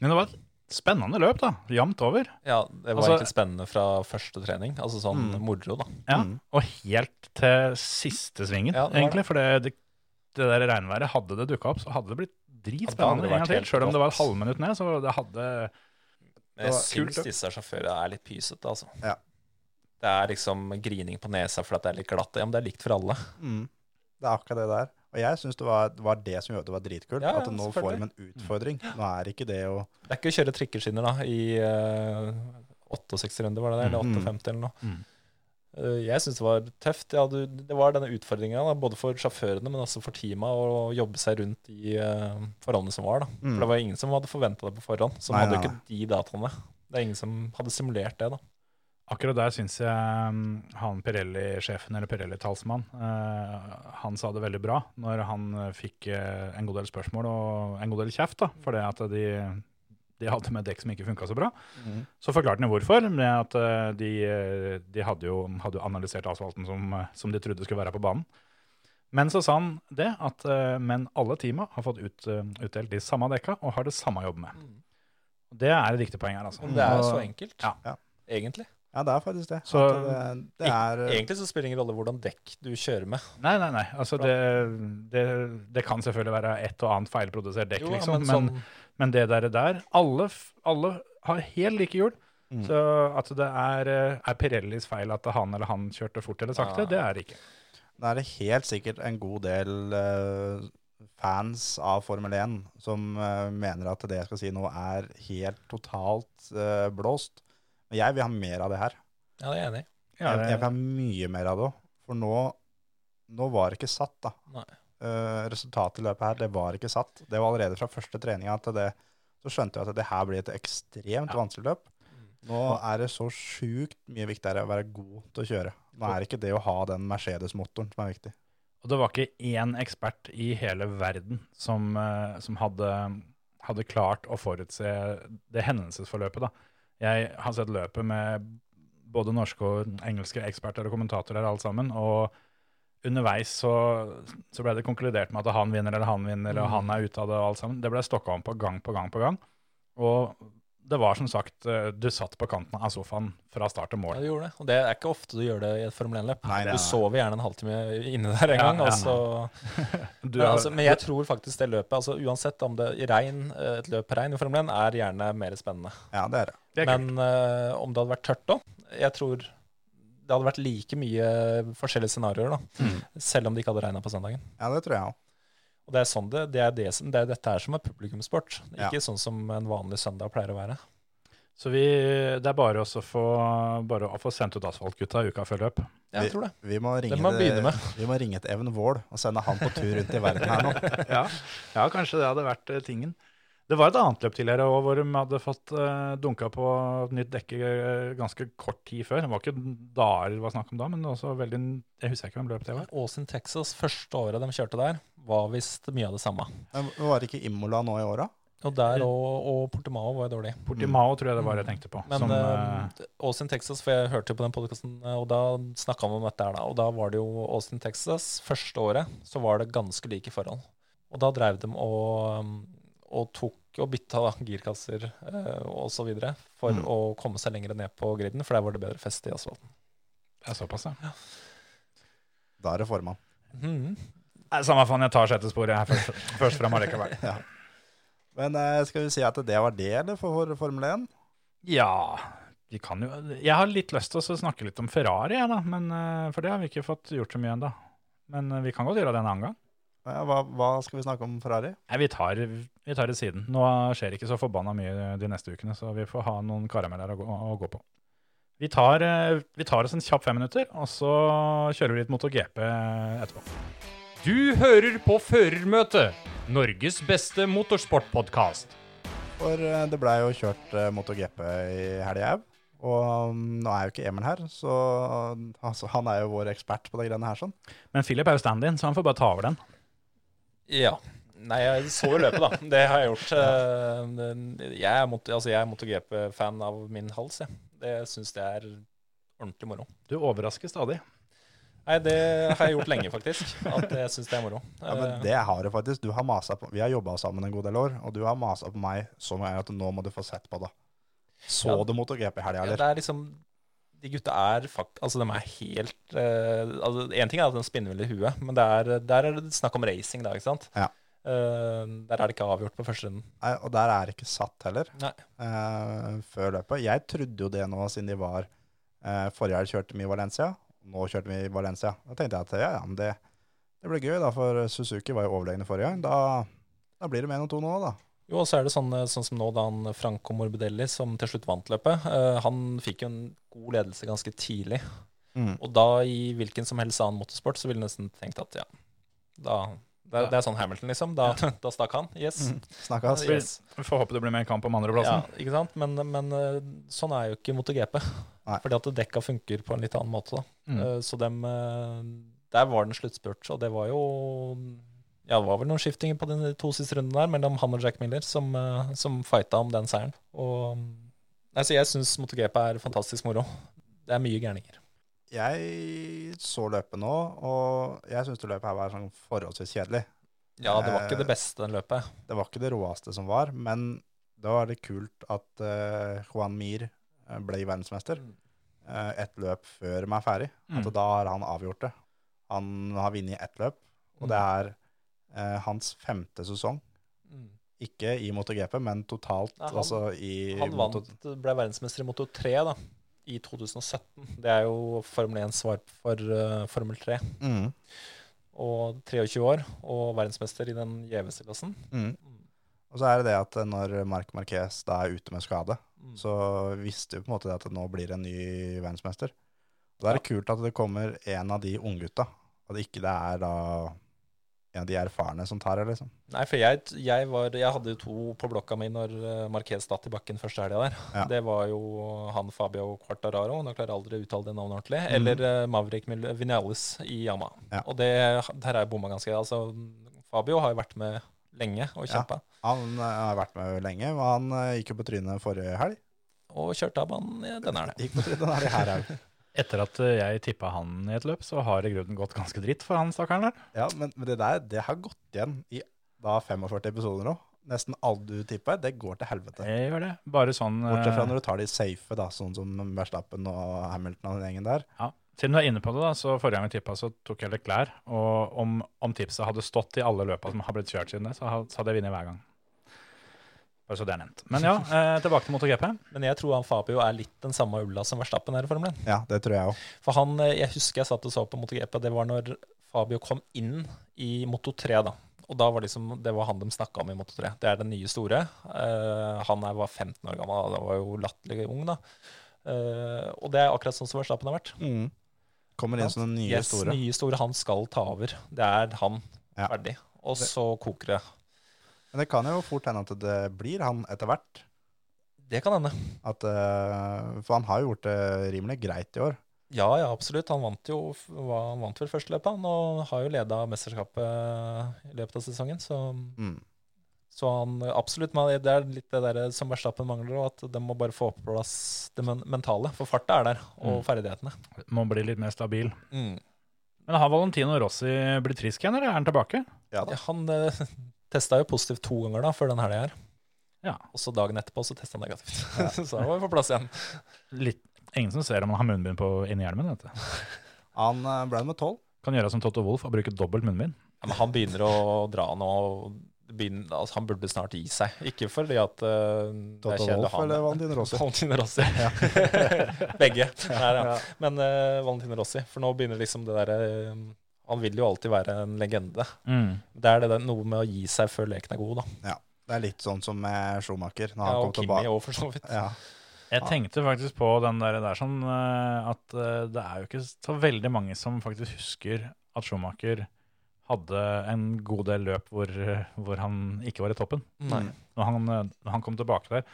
Men det var et spennende løp, da. Jevnt over.
ja, det var
Altså-
egentlig spennende fra første trening. Altså sånn
Mm.
moro, da.
Ja,
Mm.
Og helt til siste svingen,
Ja, det var det.
egentlig. For det, det, det der regnværet, hadde det dukka opp, så hadde det blitt
Hadde
dritspennende
det
en gang
vært
til.
helt
Sjøl om det var et
rått.
halvminutt ned, så det hadde
Men jeg
var
kult,
syns
da.
disse sjåførene er litt pysete, altså.
Ja.
Det er liksom grining på nesa fordi det er litt glatt. Ja, men det er likt for alle.
Mm. Det er akkurat det der. Og jeg syns det var, var det som gjorde det var dritkult.
Ja, ja,
at nå får
selvfølgelig.
de en
Mm.
utfordring. Nå er ikke det å
Det er ikke å kjøre trikkeskinner da, i eh, 68 runder, var det det? Eller
Mm.
58 eller noe.
Mm.
Eh, jeg syns det var tøft. Ja, du, det var denne utfordringa, både for sjåførene, men også for teama, å jobbe seg rundt i eh, forholdene som var. da.
Mm.
For det var ingen som hadde forventa det på forhånd. Så
Nei,
hadde jo
nei,
ikke de dataene. Det er ingen som hadde simulert det, da.
Akkurat der syns jeg mm, han Pirelli-sjefen, eller Pirelli-talsmann, eh, han sa det veldig bra når han eh, fikk eh, en god del spørsmål og en god del kjeft da, for det at de, de hadde med dekk som ikke funka så bra.
Mm.
Mhm.
Så forklarte han jo hvorfor, med at eh, de, eh, de hadde jo hadde jo analysert asfalten som, eh, som de trodde skulle være på banen. Men så sa han det, at eh, men alle teama har fått ut, eh, utdelt de samme dekka og har det samme å jobbe med. Det er et viktig poeng her, altså.
Mm. Men det er jo så
Og-
enkelt,
Ja.
Mm. Ja.
egentlig.
Ja, det er faktisk det.
Så-
At det, det er
Egentlig så spiller det ingen rolle hvordan dekk du kjører med.
Nei, nei, nei. Altså, det, det, det kan selvfølgelig være et og annet feilprodusert dekk,
Jo, ja,
liksom.
men
Men,
sånn-
men det der, der alle, f- alle har helt like hjul.
Mm.
Så at det er, eh, er Pirellis feil at han eller han kjørte fort eller sakte,
Ja.
det er det ikke.
Da er det helt sikkert en god del eh, fans av Formel 1 som eh, mener at det jeg skal si nå er helt totalt eh, blåst. Men jeg vil ha mer av det her.
Ja, det er jeg enig i.
Ja,
jeg, jeg vil
det,
ha mye mer av det òg. For nå, nå var det ikke satt, da.
Nei.
Eh, resultatet i løpet her, det var ikke satt. Det var allerede fra første treninga til det. Så skjønte jeg at det her blir et ekstremt vanskelig løp.
Mm.
Nå er det så sjukt mye viktigere å være god til å kjøre. Nå er det ikke det å ha den Mercedes-motoren som er viktig.
og det var ikke én ekspert i hele verden som, eh, som hadde, hadde klart å forutse det hendelsesforløpet. Da. Jeg har sett løpet med både norske og engelske eksperter og kommentatorer alle sammen, og underveis så, så ble det konkludert med at han vinner eller han vinner, eller
Mm.
han er ute av det og alt sammen. Det ble stokka om på gang på gang på gang. Og det var som sagt, eh, du satt på kanten av sofaen fra start til
Ja,
mål.
du gjorde det. Og det er ikke ofte du gjør det i et Formel 1-løp.
Nei, nei,
Du
nei.
sover gjerne en halvtime inne der en
Ja,
gang.
ja,
og så-
Du,
men, altså, men jeg tror faktisk det løpet, altså, uansett om det er regn, eh, et løp på regn i Formel 1, er gjerne mer spennende.
Ja, det er det.
det er kult.
Men eh, om det hadde vært tørt da, jeg tror det hadde vært
Mm.
like mye forskjellige scenarioer, da, selv om det ikke hadde regna på søndagen.
Ja, det tror jeg òg.
Og det er sånn det, det er det som, det er dette her som er publikumssport,
Ja.
ikke sånn som en vanlig søndag pleier å være.
Så vi, det er bare, også å få, bare å få sendt ut asfaltgutta uka før løp.
Jeg tror det.
Vi må ringe,
Det må
det-
begynne med.
vi må ringe et Even Vål og sende han på tur rundt i verden
*laughs*
her nå.
*laughs* ja. ja, kanskje det hadde vært eh, tingen. Det var et annet løp tidligere òg hvor de hadde fått eh, dunka på et nytt dekke eh, ganske kort tid før. Det var ikke dager det var snakk om da, men også veldig Jeg husker ikke hvem løp det var.
Austin, Texas, første året de kjørte der, var visst mye av det samme.
Men Var det ikke Imola nå i år, da?
Og der og, og Portimao var jo dårlig.
Portimao tror jeg det var jeg tenkte på.
Men
som, Mm. eh,
eh, Austin, Texas, for jeg hørte jo på den podkasten, og da snakka vi om dette her, da. Og da var det jo Austin, Texas. Første året så var det ganske like forhold. Og da dreiv de og, um, og tok og bytta da, girkasser eh, og så videre for
Mm.
å komme seg lenger ned på griden, for der var det bedre feste i asfalten.
det er såpass, ja.
Mm. Da er det formann.
Mhm.
Nei, Samme faen, jeg tar sjette sporet her først, først fram allikevel.
Men eh, skal vi si at det var det, eller, for for Formel 1?
Ja, vi kan jo Jeg har litt lyst til å snakke litt om Ferrari, jeg, da. Men, eh, for det har vi ikke fått gjort så mye ennå. Men eh, vi kan godt gjøre det en annen gang.
Ja, hva, hva skal vi snakke om Ferrari?
Nei, vi tar, vi tar det siden. Nå skjer det ikke så forbanna mye de neste ukene, så vi får ha noen karameller å gå, å gå på. Vi tar, eh, vi tar oss en kjapp fem minutter, og så kjører vi litt MotoGP etterpå.
Du hører på Førermøtet, Norges beste motorsportpodkast.
For eh, det ble jo kjørt eh, MotoGP i helga òg. Og mm, nå er jo ikke Emil her, så altså, han er jo vår ekspert på de greiene her. sånn.
Men Philip er jo stand-in, så han får bare ta over den.
Ja. Nei, jeg så jo løpet, da. Det har jeg gjort. eh, den- Jeg er, mot- altså, jeg er MotoGP-fan av min hals, jeg. Det syns jeg er ordentlig moro.
Du overrasker stadig.
Nei, det har jeg gjort lenge, faktisk. At jeg syns det er moro. Eh,
Ja, men det har du faktisk. Du har masa på, Vi har jobba sammen en god del år, og du har masa på meg så mye at nå må du få sett på det. Så
Ja.
du MotoGP i
Ja,
helga, eller?
det er liksom De gutta er fakt... Altså, de er helt eh, altså, En ting er at de spinner vel i huet, men det er, der er det snakk om racing, da, ikke sant?
Ja.
Eh, der er det ikke avgjort på første runden.
Nei, og der er det ikke satt heller
Nei.
eh, før løpet. Jeg trodde jo det nå, siden de var eh, Forrige helg kjørte vi i Valencia, nå kjørte vi i Valencia. Da tenkte jeg at ja, ja, men det, det blir gøy, da, for Suzuki var jo overlegne forrige gang. Da, da blir det med noen to nå, da.
Jo, og så er det sånn, eh, sånn som nå, da han Franco Morbidelli, som til slutt vant løpet, eh, han fikk jo en god ledelse ganske tidlig. Og da, i hvilken som helst annen motorsport, så ville jeg nesten tenkt at ja, da det, er- det er sånn Hamilton, liksom. Da, *laughs* da stakk han. Yes.
Snakkes.
yes.
Vi får håpe det blir mer kamp om
Ja,
andreplassen.
ikke sant? Men, men eh, sånn er jo ikke MotoGP.
Nei.
Fordi at dekka funker på en litt annen måte. Da.
Mm.
Eh, Så dem, eh, der var den sluttspurt, og det var jo ja, det var vel noen skiftinger på de to siste rundene der mellom han og Jack Miller som, eh, som fighta om den seieren. Og, nei, så jeg syns MotoGP er fantastisk moro. Det er mye gærninger.
Jeg så løpet nå, og jeg syns det løpet her var sånn forholdsvis kjedelig.
Ja, det var ikke
Eh,
det beste den løpet.
Det var ikke det råeste som var, men det var litt kult at eh, Juan Mir eh, ble verdensmester
Mm.
eh, ett løp før de er ferdig. At
Mm.
da har han avgjort det. Han har vunnet ett løp, og det er eh, hans femte sesong.
Mm.
Ikke i MotoGP, men totalt,
Nei, han-
altså i
Han
moto-
vant, ble verdensmester i Moto 3 da, i 2017. Det er jo Formel 1 svar for eh, Formel 3.
Mm,
og 23 år, og verdensmester i den gjeveste klassen.
mm. Og så er det det at eh, når Marc Marquez da er ute med skade,
Mm.
så visste vi på en måte det at nå blir det en ny verdensmester. Da er det kult at det kommer en av de unggutta, og det ikke det er da en av de erfarne som tar det, liksom.
Nei, for jeg, jeg, var, jeg hadde jo to på blokka mi når eh, Marquez datt i bakken første helga der.
Ja.
Det var jo han Fabio Quartararo, nå klarer jeg aldri å uttale det navnet ordentlig, eller eh, Maverick Mil- Vinales i Yama.
Mhm. Ja.
Og det, der er jeg bomma ganske. Altså, Fabio har jo vært med lenge og
Ja.
kjempa,
Han eh, har vært med lenge, og han eh, gikk jo på trynet forrige helg.
og kjørte av banen ja, denne
*laughs*
helga.
Gikk på trynet der i her òg.
Etter at eh, jeg tippa han i et løp, så har det i grunnen gått ganske dritt for han stakkaren der.
Ja, men, men det der, det har gått igjen i da 45 episoder nå. Nesten alt du tipper, det går til helvete.
Jeg gjør det. Bare sånn eh,
Bortsett fra når du tar de safe, da, sånn som Verstappen og Hamilton og den gjengen der.
Ja. Siden du er inne på det, da, så forrige gang vi tippa, så tok jeg litt klær. Og om, om tipset hadde stått i alle løpa som har blitt kjørt siden det, så, ha- så hadde jeg vunnet hver gang. Bare så det er nevnt.
*laughs*
Men ja, eh, tilbake til MotoGP.
*laughs* Men jeg tror han Fabio er litt den samme ulla som Verstappen her i Formel 1.
Ja, det tror jeg òg.
For han, eh, jeg husker jeg satt og så på MotoGP, det var når Fabio kom inn i Moto3 da, Og da var liksom, det var han de snakka om i Moto 3. Det er den nye store. Eh, han er, var 15 år gammel, han var jo latterlig ung, da. Eh, og det er akkurat sånn som Verstappen har vært.
Mm. Kommer inn som den nye
yes,
store.
nye store. Han skal ta over. Det er han.
Ja.
Ferdig. Og så koker det.
Men det kan jo fort hende at det blir han etter hvert.
Det kan hende.
At, eh, for han har jo gjort det rimelig greit i år.
Ja, ja, absolutt. Han vant jo hva- han vant vel første løpet, han, og har jo leda mesterskapet i løpet av sesongen. Så,
Mm.
så han absolutt men Det er litt det der som Verstappen mangler, og at de må bare få på plass det men- mentale. For farta er der, og ferdighetene.
Må bli litt mer stabil.
Mm.
Men har Valentino Rossi blitt frisk igjen, eller er han tilbake?
Ja,
Ja da.
han eh, testa jo positivt to ganger da, før den helga her.
Ja.
Og så dagen etterpå så testa han negativt. *laughs* så da var vi på plass igjen.
Litt. Ingen som ser om han har munnbind på inni hjelmen. Vet du.
Han eh, ble nummer tolv.
Kan gjøre som Totto Wolff og bruke dobbelt munnbind.
Ja, men han begynner å dra nå. og Begynner, altså han burde snart gi seg. Ikke fordi at eh, det er
Toto
kjedelig å
Wolff
ha
eller Valentino Rossi?
*laughs* Valentino Rossi.
*laughs*
Begge. Nei, ja. Men eh, Valentino Rossi. For nå begynner liksom det derre Han vil jo alltid være en legende.
Mm.
Det er det der, noe med å gi seg før leken er god, da.
Det er litt sånn som med Schumacher. Når
Ja,
han
og
kom
Kimi
tilbake.
òg, for så vidt.
Ja.
Jeg tenkte faktisk på den der, der sånn eh, at eh, det er jo ikke så veldig mange som faktisk husker at Schumacher hadde en god del løp hvor, eh, hvor han ikke var i toppen.
Nei.
Når han, eh, når han kom tilbake der.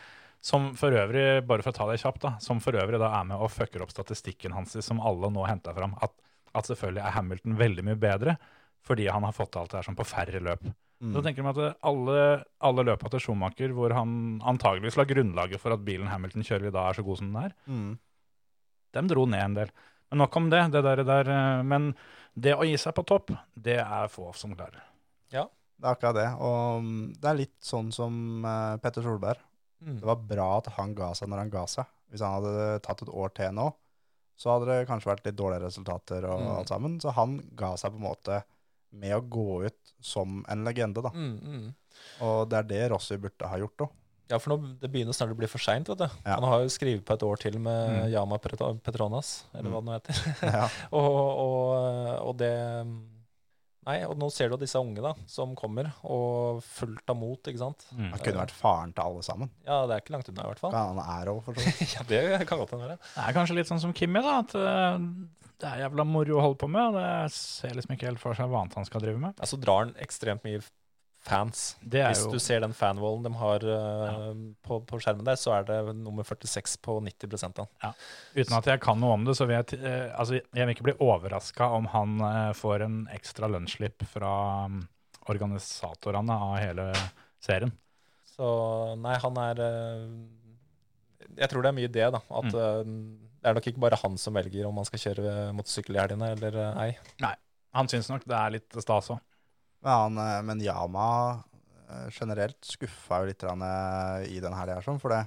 Som for øvrig, bare for å ta det kjapt, da, som for øvrig da er med og fucker opp statistikken hans som alle nå henter fram. At, at selvfølgelig er Hamilton veldig mye bedre fordi han har fått til alt det her sånn på færre løp. Så
Mm.
tenker de at eh, alle, alle løpa til Schumacher hvor han antageligvis la grunnlaget for at bilen Hamilton kjører i dag, er så god som den er,
Mm.
dem dro ned en del. Men nok om det. det der, der, eh, men det å gi seg på topp, det er få som klarer.
Det er akkurat det. Og mm, det er litt sånn som eh, Petter Solberg.
Mm.
Det var bra at han ga seg når han ga seg. Hvis han hadde tatt et år til nå, så hadde det kanskje vært litt dårligere resultater og
Mm.
alt sammen. Så han ga seg på en måte med å gå ut som en legende, da.
Mm, mm.
Og det er det Rossi burde ha gjort òg.
Ja, for nå det begynner snart å bli for seint. vet du.
Ja.
Han har jo skrevet på et år til med
Mm.
Yama Petro- Petronas, eller hva det
Mm.
nå heter. *laughs*
Ja.
og, og, og det Nei, og nå ser du disse unge da, som kommer, og fullt av mot, ikke sant.
Mm.
Han kunne vært faren til alle sammen.
Ja, det er ikke langt unna, i hvert fall.
Han er òg, for så vidt.
*laughs* ja, det kan godt hende. det.
Det er kanskje litt sånn som Kimmy, da. At eh, det er jævla moro å holde på med. og Det ser liksom ikke helt for seg hva annet han skal drive med.
Ja, så Altså, drar han ekstremt mye fans.
Det er
Hvis
jo
du ser den fanwallen de har eh, på, på skjermen der, så er det nummer 46 på 90 av den.
Uten at jeg kan noe om det, så vil jeg, t- eh, altså, jeg vil ikke bli overraska om han eh, får en ekstra lønnsslipp fra mm, organisatorene av hele serien.
Så nei, han er eh, Jeg tror det er mye det, da. At
Mm.
eh, det er nok ikke bare han som velger om han skal kjøre motorsykkel i helgene eller eh, ei.
Han syns nok det er litt stas òg.
Men, han, eh, men Yama eh, generelt skuffa jo litt grann, eh, i den helga, sånn, for det,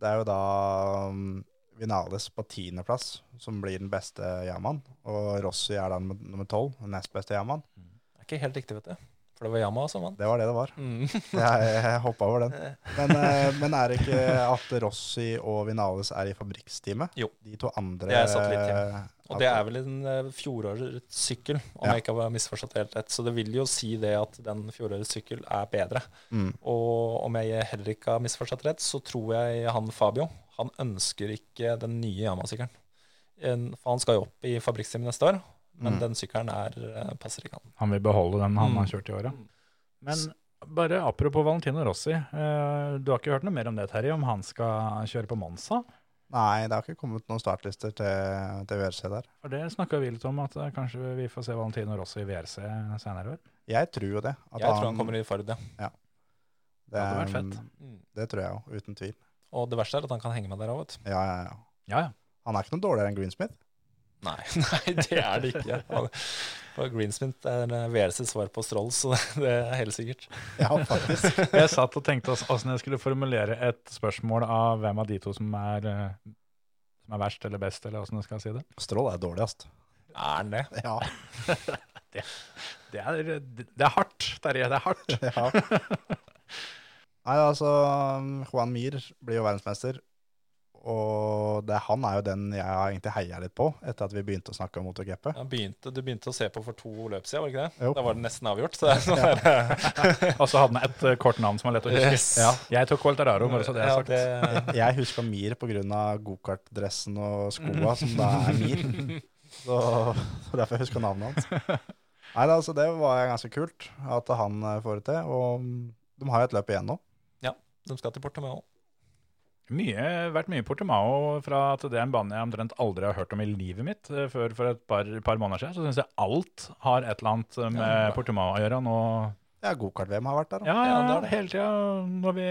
det er jo da mm, Vinales på tiendeplass som blir den beste Yamaen, og Rossi er da nummer- nummer tolv, den nest beste Yamaen.
Det er ikke helt riktig, vet du. For det var Yama som vant.
Det var det det var.
Mm.
Jeg, jeg hoppa over den. Men, eh, men er det ikke at Rossi og Vinales er i fabrikksteamet?
Jo.
De to andre
Det er satellittteam.
eh,
*laughs* Og
at-
det er vel en eh, fjorårets sykkel, om
Ja.
jeg ikke har misforstått helt rett. Så det vil jo si det at den fjorårets sykkel er bedre.
mm,
Og om jeg heller ikke har misforstått rett, så tror jeg han Fabio han ønsker ikke den nye Yama-sykkelen. En- For han skal jo opp i fabrikksteamet neste år, men
Mm.
den sykkelen er, eh, passer ikke han.
Han vil beholde den han
Mm.
har kjørt i året. Men bare apropos Valentino Rossi. eh, du har ikke hørt noe mer om det, Terje, om han skal kjøre på Monza?
Nei, det har ikke kommet noen startlister til, til VRC der.
For det snakka vi litt om, at eh, kanskje vi får se Valentino Rossi i VRC senere i år.
Jeg tror jo det. at
Jeg tror han kommer i Ford, ja.
det,
hadde vært
um,
fett.
Mm.
Det tror jeg jo, uten tvil.
Og det verste er at han kan henge med der òg, vet du.
Ja, ja, ja.
Ja, ja.
Han er ikke noe dårligere enn Greensmith.
*laughs* Nei, nei, det er det *laughs* ikke. Han- Og Greensmith er eh, VRCs svar på Stroll, så *laughs* det er helt sikkert.
Ja, faktisk.
*laughs* Jeg satt og tenkte åssen jeg skulle formulere et spørsmål av hvem av de to som er, eh, som er verst eller best, eller åssen jeg skal si det.
*laughs* Strål er dårligst.
Er han det?
Ja,
Det er, det er hardt, Terje. Det er hardt.
ja. Nei, altså, Juan Mir blir jo verdensmester, Og det, han er jo den jeg har egentlig heia litt på etter at vi begynte å snakke om MotoGP.
Ja, begynte, du begynte å se på for to løp siden, var det ikke det?
Jo.
Da var det nesten avgjort. *laughs* Så det er sånn der,
Og så hadde han et eh, kort navn som er lett å huske.
Yes.
Ja. Jeg tok Coltararo, bare så det er
ja,
sagt.
det,
Jeg husker Mir pga. gokartdressen og skoa, som da er Mir. *laughs* Så, så derfor jeg husker navnet hans. Nei, da, altså, Det var ganske kult at han eh, får det til. Og de har jo et løp igjen nå.
de skal til Portomeo.
Mye, vært mye i Portimao fra at det er en bane jeg omtrent aldri har hørt om i livet mitt eh, før for et par, par måneder siden. Så syns jeg alt har et eller annet eh, med
Ja, bra.
Portimao å gjøre. Nå,
Ja, Gokart-VM har vært der. da.
ja, ja,
Ja, det er det.
hele tida. Når vi,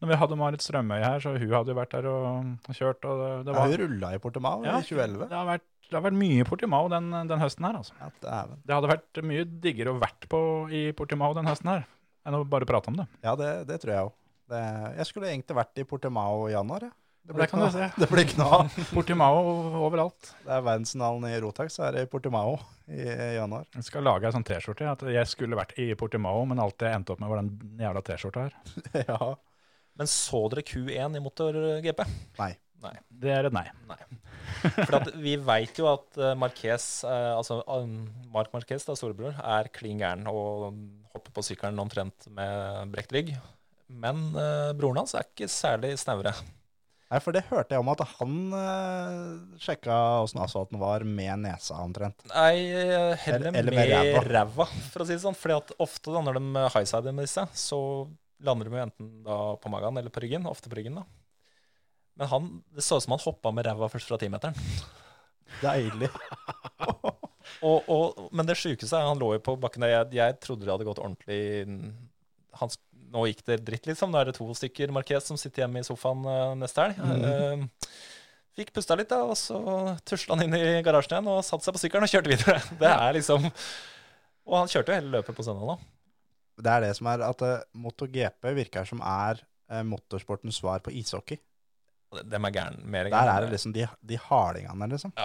når vi hadde Marit Strømøy her, så hun hadde jo vært der og kjørt. Og det, det
Ja,
var,
hun rulla i Portimao
Ja.
i 2011.
det, har vært, det har vært mye Portimao den, den høsten her, altså.
Ja, dæven.
Det hadde vært mye diggere å vært på i Portimao den høsten her, enn å bare prate om det.
ja det, det tror jeg òg. Jeg skulle egentlig vært i Portimao i januar. jeg.
Det kan du
ikke noe-
se.
*laughs* det blir ikke noe av.
Portimao overalt.
Det er verdensfinalen i Rotax, så er det i Portimao i i januar. *laughs*
Jeg skal lage ei sånn T-skjorte. At jeg skulle vært i Portimao, men alt jeg endte opp med, var den jævla T-skjorta her.
ja.
Men så dere Q1 i eh, motor-GP?
Det er et nei.
For at vi veit jo at eh, Marquez, eh, altså um, Mark Marquez, da, storebror, er klin gæren og hopper på sykkelen omtrent med brekt rygg. Men eh, broren hans er ikke særlig snaure.
Nei, for det hørte jeg om at han eh, sjekka åssen asfalten var med nesa omtrent.
Nei, eh, heller
Eller- eller med
med ræva, for å si det sånn. Fordi at ofte da, når de eh, highsider med disse, så lander de jo enten da på magen eller på ryggen. Ofte på ryggen, da. Men han, det så ut som han hoppa med ræva først fra timeteren.
Deilig.
Og, og, men det sjukeste er han lå jo på bakken der. Jeg, jeg trodde det hadde gått ordentlig han, sk- Nå gikk det dritt, liksom. Nå er det to stykker Marquez som sitter hjemme i sofaen eh, neste helg.
Mm.
Eh, fikk pusta litt, da, og så tusla han inn i garasjen igjen og satte seg på sykkelen og kjørte videre. *laughs* Det er liksom Og han kjørte jo hele løpet på søndag, da.
Det er det som er at eh, MotoGP virker som er eh, motorsportens svar på ishockey.
Og de- Dem er gæren, mer
Der er det liksom de, de hardingene, liksom.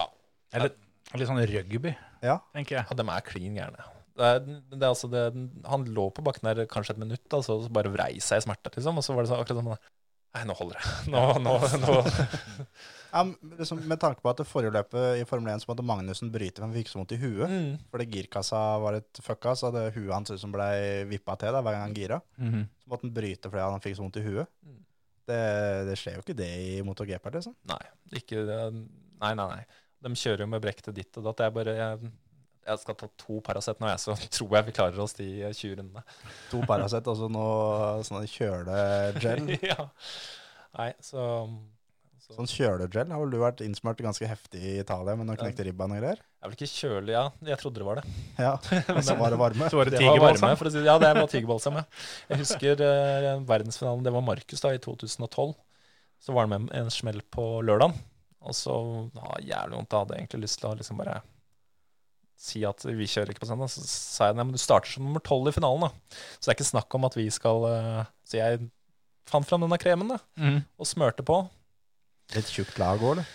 Eller litt sånn rugby,
Ja.
tenker jeg.
Ja, dem er klin gærne. Det er, det er altså det, han lå på bakken der kanskje et minutt, da, så bare vrei seg i smerte, liksom. Og så var det sånn, akkurat sånn Nei, nå holder det. Nå, nå, nå,
ja men liksom, med tanke på at det forrige løpet i Formel 1 så måtte Magnussen bryte, for han fikk så vondt i huet.
Mm.
Fordi girkassa var litt fucka, så hadde huet hans ut som blei vippa til da, hver gang han gira.
Mhm.
Så måtte han bryte fordi han fikk så vondt i huet.
Mm.
Det, det skjer jo ikke det i MotoGP, liksom.
Nei, Mm. ikke, eh, nei, nei, nei. De kjører jo med brektet ditt og datt. Jeg bare jeg, jeg skal ta to Paracet nå, jeg, så *laughs* tror jeg vi klarer oss de 20 rundene.
To Paracet og så noe sånn
*laughs*
kjølegel.
*laughs* ja. Nei, så, um, så
Sånn kjølegel har vel du vært innsmurt ganske heftig i Italia med noen knekte ribban og greier?
Jeg er vel ikke kjølig, ja. Jeg trodde det var det.
*laughs*
Ja, og *laughs* så var det varme.
Så var det
Det var varme,
tigerbalsam.
for å si det. Ja, det var tigerbalsam, ja. Jeg husker eh, verdensfinalen, det var Markus da, i 2012. Så var han med en smell på lørdagen. Og så ja, jævlig vondt. Jeg hadde egentlig lyst til å liksom bare si at vi kjører ikke på søndag. Så sa jeg nei, men du starter som nummer tolv i finalen, da. Så det er ikke snakk om at vi skal eh, Så jeg fant fram denne kremen, da,
Mhm.
og smørte på.
Litt tjukt lag òg, eller?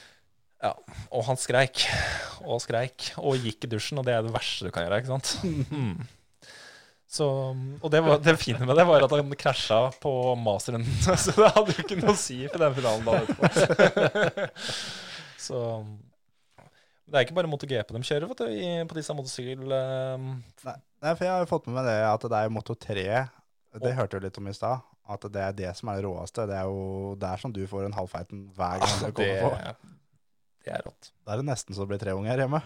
Og han skreik og skreik og gikk i dusjen, og det er det verste du kan gjøre. ikke sant? Mm. Så, og det, var, det fine med det var at han krasja på masterrunden, *laughs* så det hadde jo ikke noe å si for den finalen da etterpå. *laughs* Så det er ikke bare MotoGP de kjører vet du, i- på disse motorsykkel... eh,
Nei, for jeg har jo fått med meg det at det er Moto 3, det
Og-
hørte vi litt om i stad, at det er det som er det råeste. Det er jo der som du får en halvfeiten hver gang du
det,
kommer på.
det er rått.
Da er det nesten så det blir tre unger hjemme.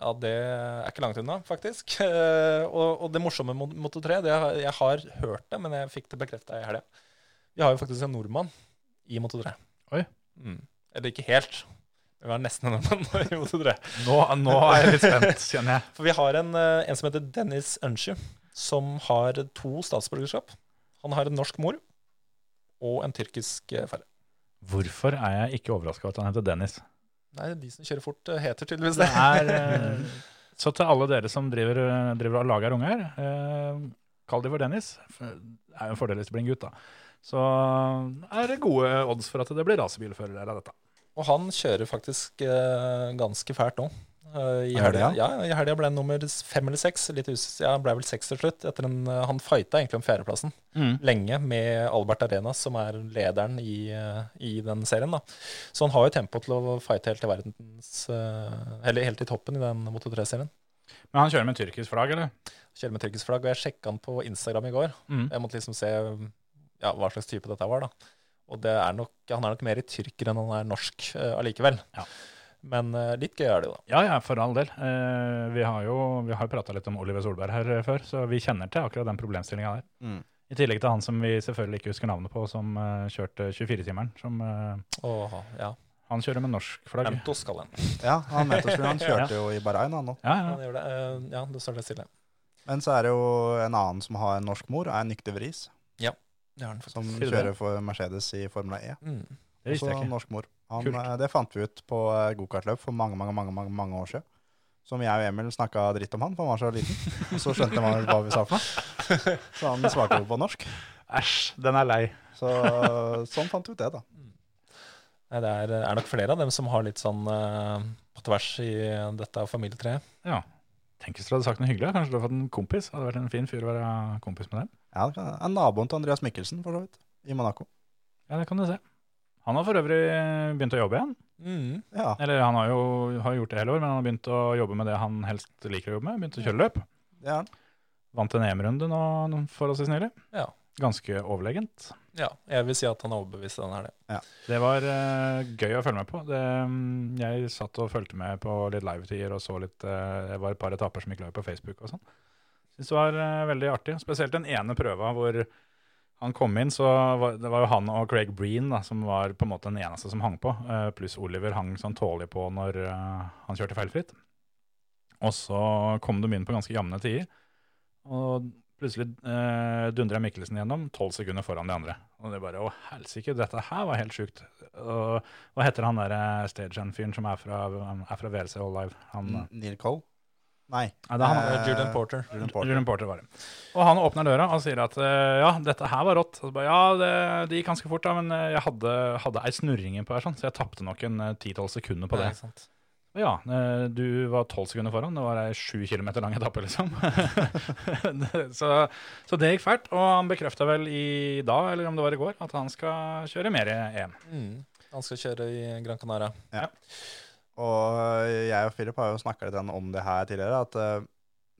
Ja, det er ikke langt unna, faktisk. *laughs* Eh, Og, og det morsomme med Moto 3, det er, jeg har hørt det, men jeg fikk det bekrefta i helga. Vi har jo faktisk en nordmann i Moto 3.
Oi.
Mm. Eller ikke helt. Vi har nesten en nordmann *laughs* i Moto 3.
Nå, nå er jeg litt spent, kjenner jeg.
For vi har en, eh, en som heter Dennis Ønsju, som har to statsborgerskap. Han har en norsk mor og en tyrkisk eh, far.
Hvorfor er jeg ikke overraska over at han heter Dennis?
Nei, de som kjører fort, eh, heter tydeligvis
Det
det.
er, eh, så til alle dere som driver, eh, driver og lager unger, eh, kall de for Dennis. For Det er jo en fordel hvis det blir en gutt, da. Så eh, er det gode odds for at det blir rasebilfører av dette.
Og han kjører faktisk eh, ganske fælt nå. Eh, I
Er det,
helga ja, i helga ble han nummer fem eller seks. Litt usikker. Ja, han ble vel seks til slutt. Etter en, eh, han fighta egentlig om fjerdeplassen lenge med Albert Arenas, som er lederen i, eh, i den serien. da. Så han har jo tempo til å fighte helt til verdens eh, Eller helt i toppen i den Moto 3-serien.
Men han kjører med tyrkisk flagg, eller?
Kjører med tyrkisk flagg. Og jeg sjekka han på Instagram i går. Jeg måtte liksom se ja, hva slags type dette var. da. Og det er nok, han er nok mer i tyrker enn han er norsk eh, allikevel.
Ja.
Men eh, litt gøy er det jo, da.
Ja, ja, for all del. Eh, vi har jo vi har prata litt om Oliver Solberg her eh, før, så vi kjenner til akkurat den problemstillinga der.
Mm.
I tillegg til han som vi selvfølgelig ikke husker navnet på, som eh, kjørte 24-timeren. Som eh,
Åh, ja.
Han kjører med norsk flagg.
Mentos kaller han.
Ja, han, mente at
*laughs*
han kjørte jo i Bahrain, han nå.
Ja, ja.
Han gjør det. Eh, Ja, det står litt stille.
Men så er det jo en annen som har en norsk mor, er Nykte Vris,
Det har han
som
faktisk.
Sier du det?
kjører for Mercedes i Formel E.
*laughs*
Mm.
Det visste
Også
jeg ikke.
norsk mor. Han,
Kult.
eh, det fant vi ut på eh, gokartløp for mange, mange, mange, mange, mange år siden. Som jeg og Emil snakka dritt om han, for han var så liten.
*laughs*
Og så skjønte man hva vi sa for noe. Så han svarte jo på norsk.
Æsj, den er lei.
Så sånn fant vi ut det, da.
Mm. Nei, Det er, er nok flere av dem som har litt sånn eh, på tvers i dette familietreet.
Tenk hvis dere hadde sagt noe hyggelig. Kanskje du hadde fått en kompis. Hadde vært en fin fyr å være kompis med dem.
Ja, det kan- er naboen til Andreas Mikkelsen, for så vidt. I Monaco.
Ja, det kan du se. Han har for øvrig eh, begynt å jobbe igjen.
Mm.
Ja,
Eller han har jo har gjort det hele år, men han har begynt å jobbe med det han helst liker å jobbe med. Begynt å kjøre løp.
det er han.
Vant en EM-runde nå forholdsvis nylig.
Ja.
Ganske overlegent.
Ja, jeg vil si at han er overbevist den her, det.
Det var eh, gøy å følge med på. Det, mm, jeg satt og fulgte med på litt livetider og så litt eh, Det var et par etapper som gikk live på Facebook og sånn. Syns det var eh, veldig artig. Spesielt den ene prøva hvor han kom inn, så var, det var jo han og Craig Breen da, som var på en måte den eneste som hang på. eh, pluss Oliver hang sånn tålelig på når eh, han kjørte feilfritt. Og så kom de inn på ganske jevne tider. Og plutselig eh, dundra Mikkelsen gjennom, tolv sekunder foran de andre. Og det bare Å, helsike, dette her var helt sjukt. Og hva heter han derre stagehand-fyren som er fra, er fra VLC All Live?
Mm.
Han, eh,
N- eh, Neil Cole. Nei,
Nei, det er han.
Eh,
Eh, Julian Porter.
Julian Porter.
Julian Porter var det. Og han åpner døra og sier at eh, ja, dette her var rått. Og så bare, ja, det, det gikk ganske fort, da, men eh, jeg hadde, hadde ei snurring innpå her, sånn, så jeg tapte nok en eh, 10-12 sekunder på det.
Nei, sant.
Ja, eh, du var tolv sekunder foran. Det var ei sju kilometer lang etappe, liksom. *laughs* så, så det gikk fælt. Og han bekrefta vel i dag, eller om det var i går, at han skal kjøre mer E i EM.
Mm. Han skal kjøre i Gran Canaria.
Og eh, jeg og Philip har jo snakka litt grann om det her tidligere, at eh,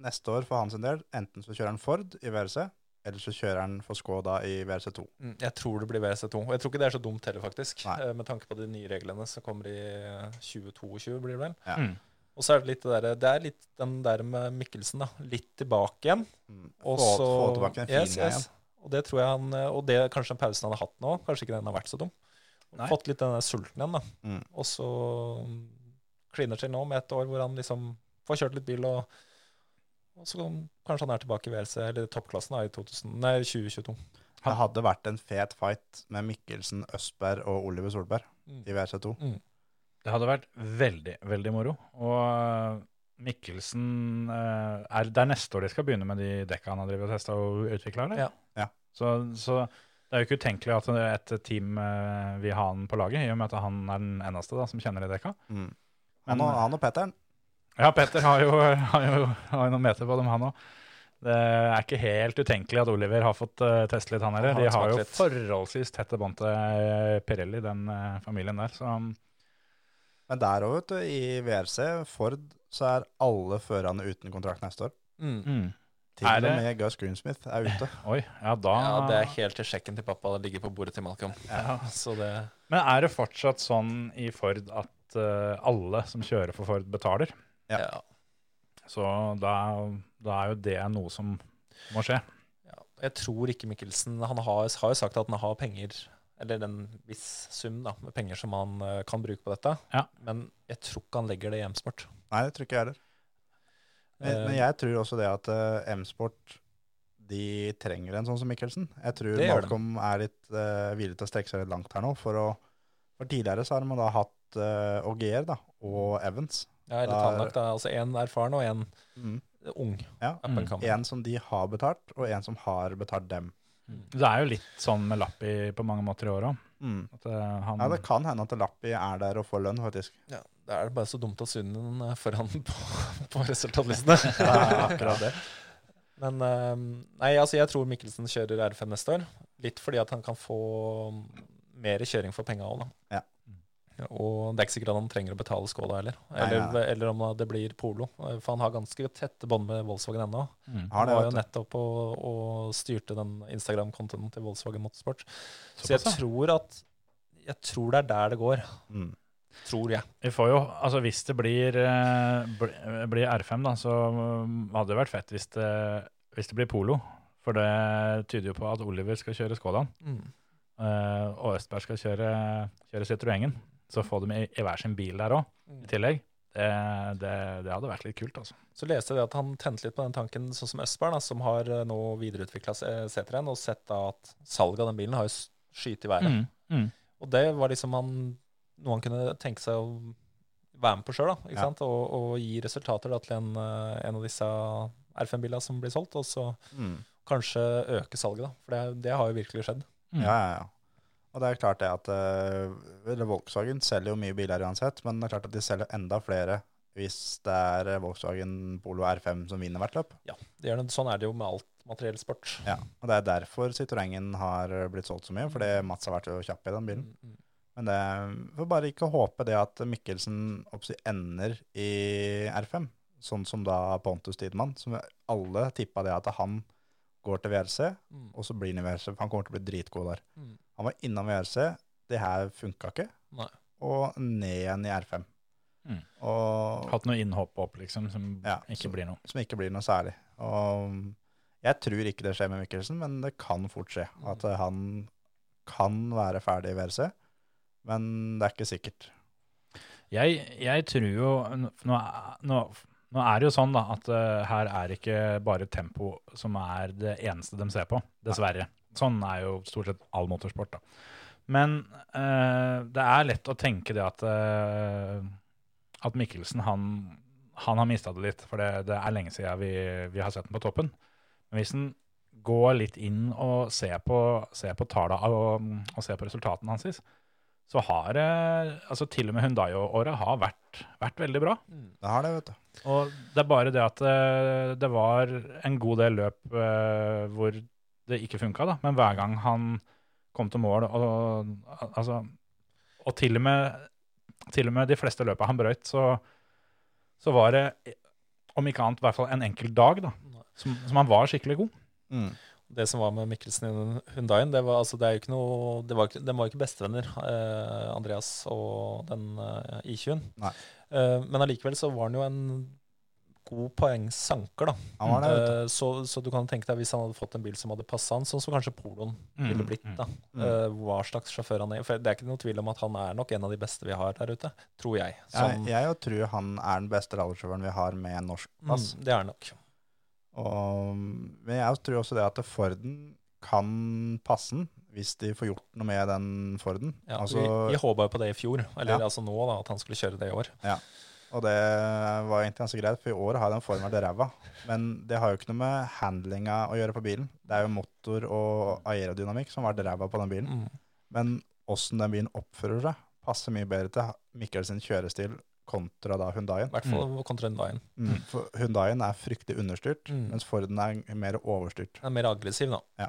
neste år for hans del, enten så kjører han Ford i VRC, eller så kjører han for Skoda i VRC2.
Mm. Jeg tror det blir WC2. Og jeg tror ikke det er så dumt heller, faktisk.
Nei.
eh, Med tanke på de nye reglene som kommer i eh, 2022, blir det vel.
Ja.
Mm.
Og så er det litt det der, det er litt den der med Mikkelsen, da. Litt tilbake igjen.
Mm.
Og
få,
så,
få tilbake den fine
Yes, yes. Og det tror jeg han, eh, og det er kanskje den pausen han har hatt nå, kanskje ikke den har vært så dum.
Nei.
Fått litt den der sulten igjen, da.
Mm.
Og så mm, kliner til nå med et år hvor han liksom får kjørt litt bil, og, og så kom- kanskje han er tilbake i VLC, eller toppklassen da, i 2000, nei, 2022.
Det hadde vært en fet fight med Mikkelsen, Østberg og Oliver Solberg
Mm.
i VRC2.
Det hadde vært veldig, veldig moro. Og eh, Mikkelsen eh, er, Det er neste år de skal begynne med de dekka han har drevet og testa og utvikla, eller?
Ja.
Ja.
Så, så det er jo ikke utenkelig at et team eh, vil ha han på laget, i og med at han er den eneste da, som kjenner de dekka.
Mm.
Men-
Han, og, han og Petteren.
Ja, Petter har jo, *laughs* har jo, har jo noen meter på dem, han òg. Det er ikke helt utenkelig at Oliver har fått eh, teste litt, han heller.
Han har
De har
smakt
jo
litt.
forholdsvis tette bånd til eh, Pirelli, den eh, familien der. Så um,
Men der òg, vet du, i VRC, Ford, så er alle førerne uten kontrakt neste år.
Mm.
mm.
Til
Er
og
det-
med Gus Greensmith er ute.
Oi, ja da
Ja,
Ah.
det er helt til sjekken til pappa det ligger på bordet til Malcolm. *laughs*
Ja.
Så det
Men er det fortsatt sånn i Ford at eh, alle som kjører for Ford, betaler?
Ja.
ja.
Så da, da er jo det noe som må skje.
Ja, jeg tror ikke Mikkelsen Han har, har jo sagt at han har penger, eller en viss sum da, med penger som han eh, kan bruke på dette.
Ja.
Men jeg tror ikke han legger det i M-sport.
Nei, det tror ikke jeg heller. Men,
Eh,
men jeg tror også det at eh, M-sport de trenger en sånn som Mikkelsen. Jeg tror
Det gjør de.
Malcolm er litt eh, villig til å strekke seg litt langt her nå. For, å, for tidligere så har man da hatt uh, Ogier da, og Evans.
ja, eller
da er-
Tanak, da. Altså én erfaren og én ung.
Ja.
Up and coming.
En som de har betalt, og en som har betalt dem.
Det er jo litt sånn med Lappi på mange måter i år òg.
Mm.
eh, Han
Ja, det kan hende at Lappi er der og får lønn,
*laughs*
faktisk.
Ja, Da er det bare så dumt at Sunnen er foran *laughs* på, på resultatlistene.
Ja, akkurat det.
Men eh, nei, altså jeg tror Mikkelsen kjører R5 neste år. Litt fordi at han kan få mm, mer kjøring for penga òg, da.
Ja.
Og det er ikke sikkert at han trenger å betale skåla heller.
Nei,
Eller,
nei,
eller om det blir polo. Eh, For han har ganske tette bånd med Volkswagen ennå.
Mm.
Har
Han
det,
var jo
vet du.
nettopp og, og styrte den Instagram-kontoen til Volkswagen Motorsport. Så jeg
Såpass, ja.
tror at Jeg tror det er der det går.
Mm.
Tror jeg.
Vi får jo, altså Hvis det blir, eh, bl- blir R5, da, så mm, hadde det vært fett hvis det, hvis det blir Polo. For det tyder jo på at Oliver skal kjøre Skålan,
Mm.
eh, og Østberg skal kjøre, kjøre Citroengen. Så få dem i, i hver sin bil der òg,
Mm.
i tillegg. Det, det, det hadde vært litt kult, altså.
Så leste jeg det at han tente litt på den tanken, sånn som Østberg, da, som har eh, nå eh, videreutvikla C3-en og sett da at salget av den bilen har jo s- skyte i været.
Mm, mm.
Og det var liksom han, noe han kunne tenke seg å være med på sjøl,
Ja.
og, og gi resultater da, til en, eh, en av disse R5-bilene som blir solgt, og så
Mm.
kanskje øke salget, da. For det, det har jo virkelig skjedd.
Mm.
Ja, ja, ja. Og det er klart det at eh, eller Volkswagen selger jo mye biler uansett, men det er klart at de selger enda flere hvis det er eh, Volkswagen Polo R5 som vinner hvert løp.
Det gjør det, sånn er det jo med alt materiellsport.
Ja, og Det er derfor Citroengen har blitt solgt så mye, fordi Mats har vært jo kjapp i den bilen.
Mm, mm.
Men det får bare ikke håpe det at Mikkelsen oppsi, ender i R5, sånn som da Pontus Tidemann, som alle tippa det at han går til VRC,
Mm.
og så blir han i VRC, for han kommer til å bli dritgod der.
Mm.
Han var innom VRC, det her funka ikke,
Nei.
og ned igjen i R5.
Mm.
Og,
Hatt noe innhopp opp, liksom, som
Ja,
ikke
så-
blir noe.
som ikke blir noe særlig. Og um, jeg tror ikke det skjer med Mikkelsen, men det kan fort skje.
Mm.
At eh, han kan være ferdig i VRC, men det er ikke sikkert.
Jeg, jeg tror jo nå, nå, nå er det jo sånn da, at eh, her er ikke bare tempo som er det eneste de ser på, dessverre. Sånn er jo stort sett all motorsport. da. Men eh, det er lett å tenke det at, eh, at Mikkelsen han, han har mista det litt, for det, det er lenge siden vi, vi har sett den på toppen. Men hvis han går litt inn og ser på, ser på tallene og, og ser på resultatene hans, så har eh, altså til og med Hundayo-året har vært, vært veldig bra.
Mm.
Det har det, vet du.
Og det er bare det at eh, det var en god del løp eh, hvor det ikke funka, da. Men hver gang han kom til mål, og, al- altså, og til, og med, til og med de fleste løpa han brøyt, så, så var det om ikke annet i hvert fall en enkel dag, da. Som, som han var skikkelig god.
Mm.
det som var med Mikkelsen i Hundayen, det var, altså, det er jo ikke noe, det var, ikke- de var jo ikke bestevenner, eh, Andreas og den eh, I20-en.
Nei.
Eh, men allikevel så var han jo en god poengsanker, da.
Han var det, vet du.
Eh, så, så du kan tenke deg hvis han hadde fått en bil som hadde passa han, sånn som kanskje Poloen ville blitt, da.
Mm.
Eh, hva slags sjåfør han er. For det er ikke noe tvil om at han er nok en av de beste vi har der ute, tror jeg. Sånn,
Jeg,
Eh, Som,
jeg jo tror han er den beste rallysjåføren vi har med norsk pass.
Mm, det er han nok.
Og, men jeg tror også det at Forden kan passe den, hvis de får gjort noe med den Forden.
Ja,
altså,
vi, vi håpa jo på det i fjor, eller
Ja.
altså nå, da, at han skulle kjøre det i år.
Og det var egentlig ganske greit, for i år har den Forden vært ræva. Men det har jo ikke noe med handlinga å gjøre på bilen. Det er jo motor og aerodynamikk som har vært ræva på den bilen.
Mm.
Men åssen den bilen oppfører seg, passer mye bedre til Mikkel sin kjørestil kontra da Hundaien.
I hvert fall kontra Hundayen.
Mm. For Hundaien er fryktelig understyrt,
Mm.
mens Forden er mer overstyrt.
Den er mer aggressiv, da.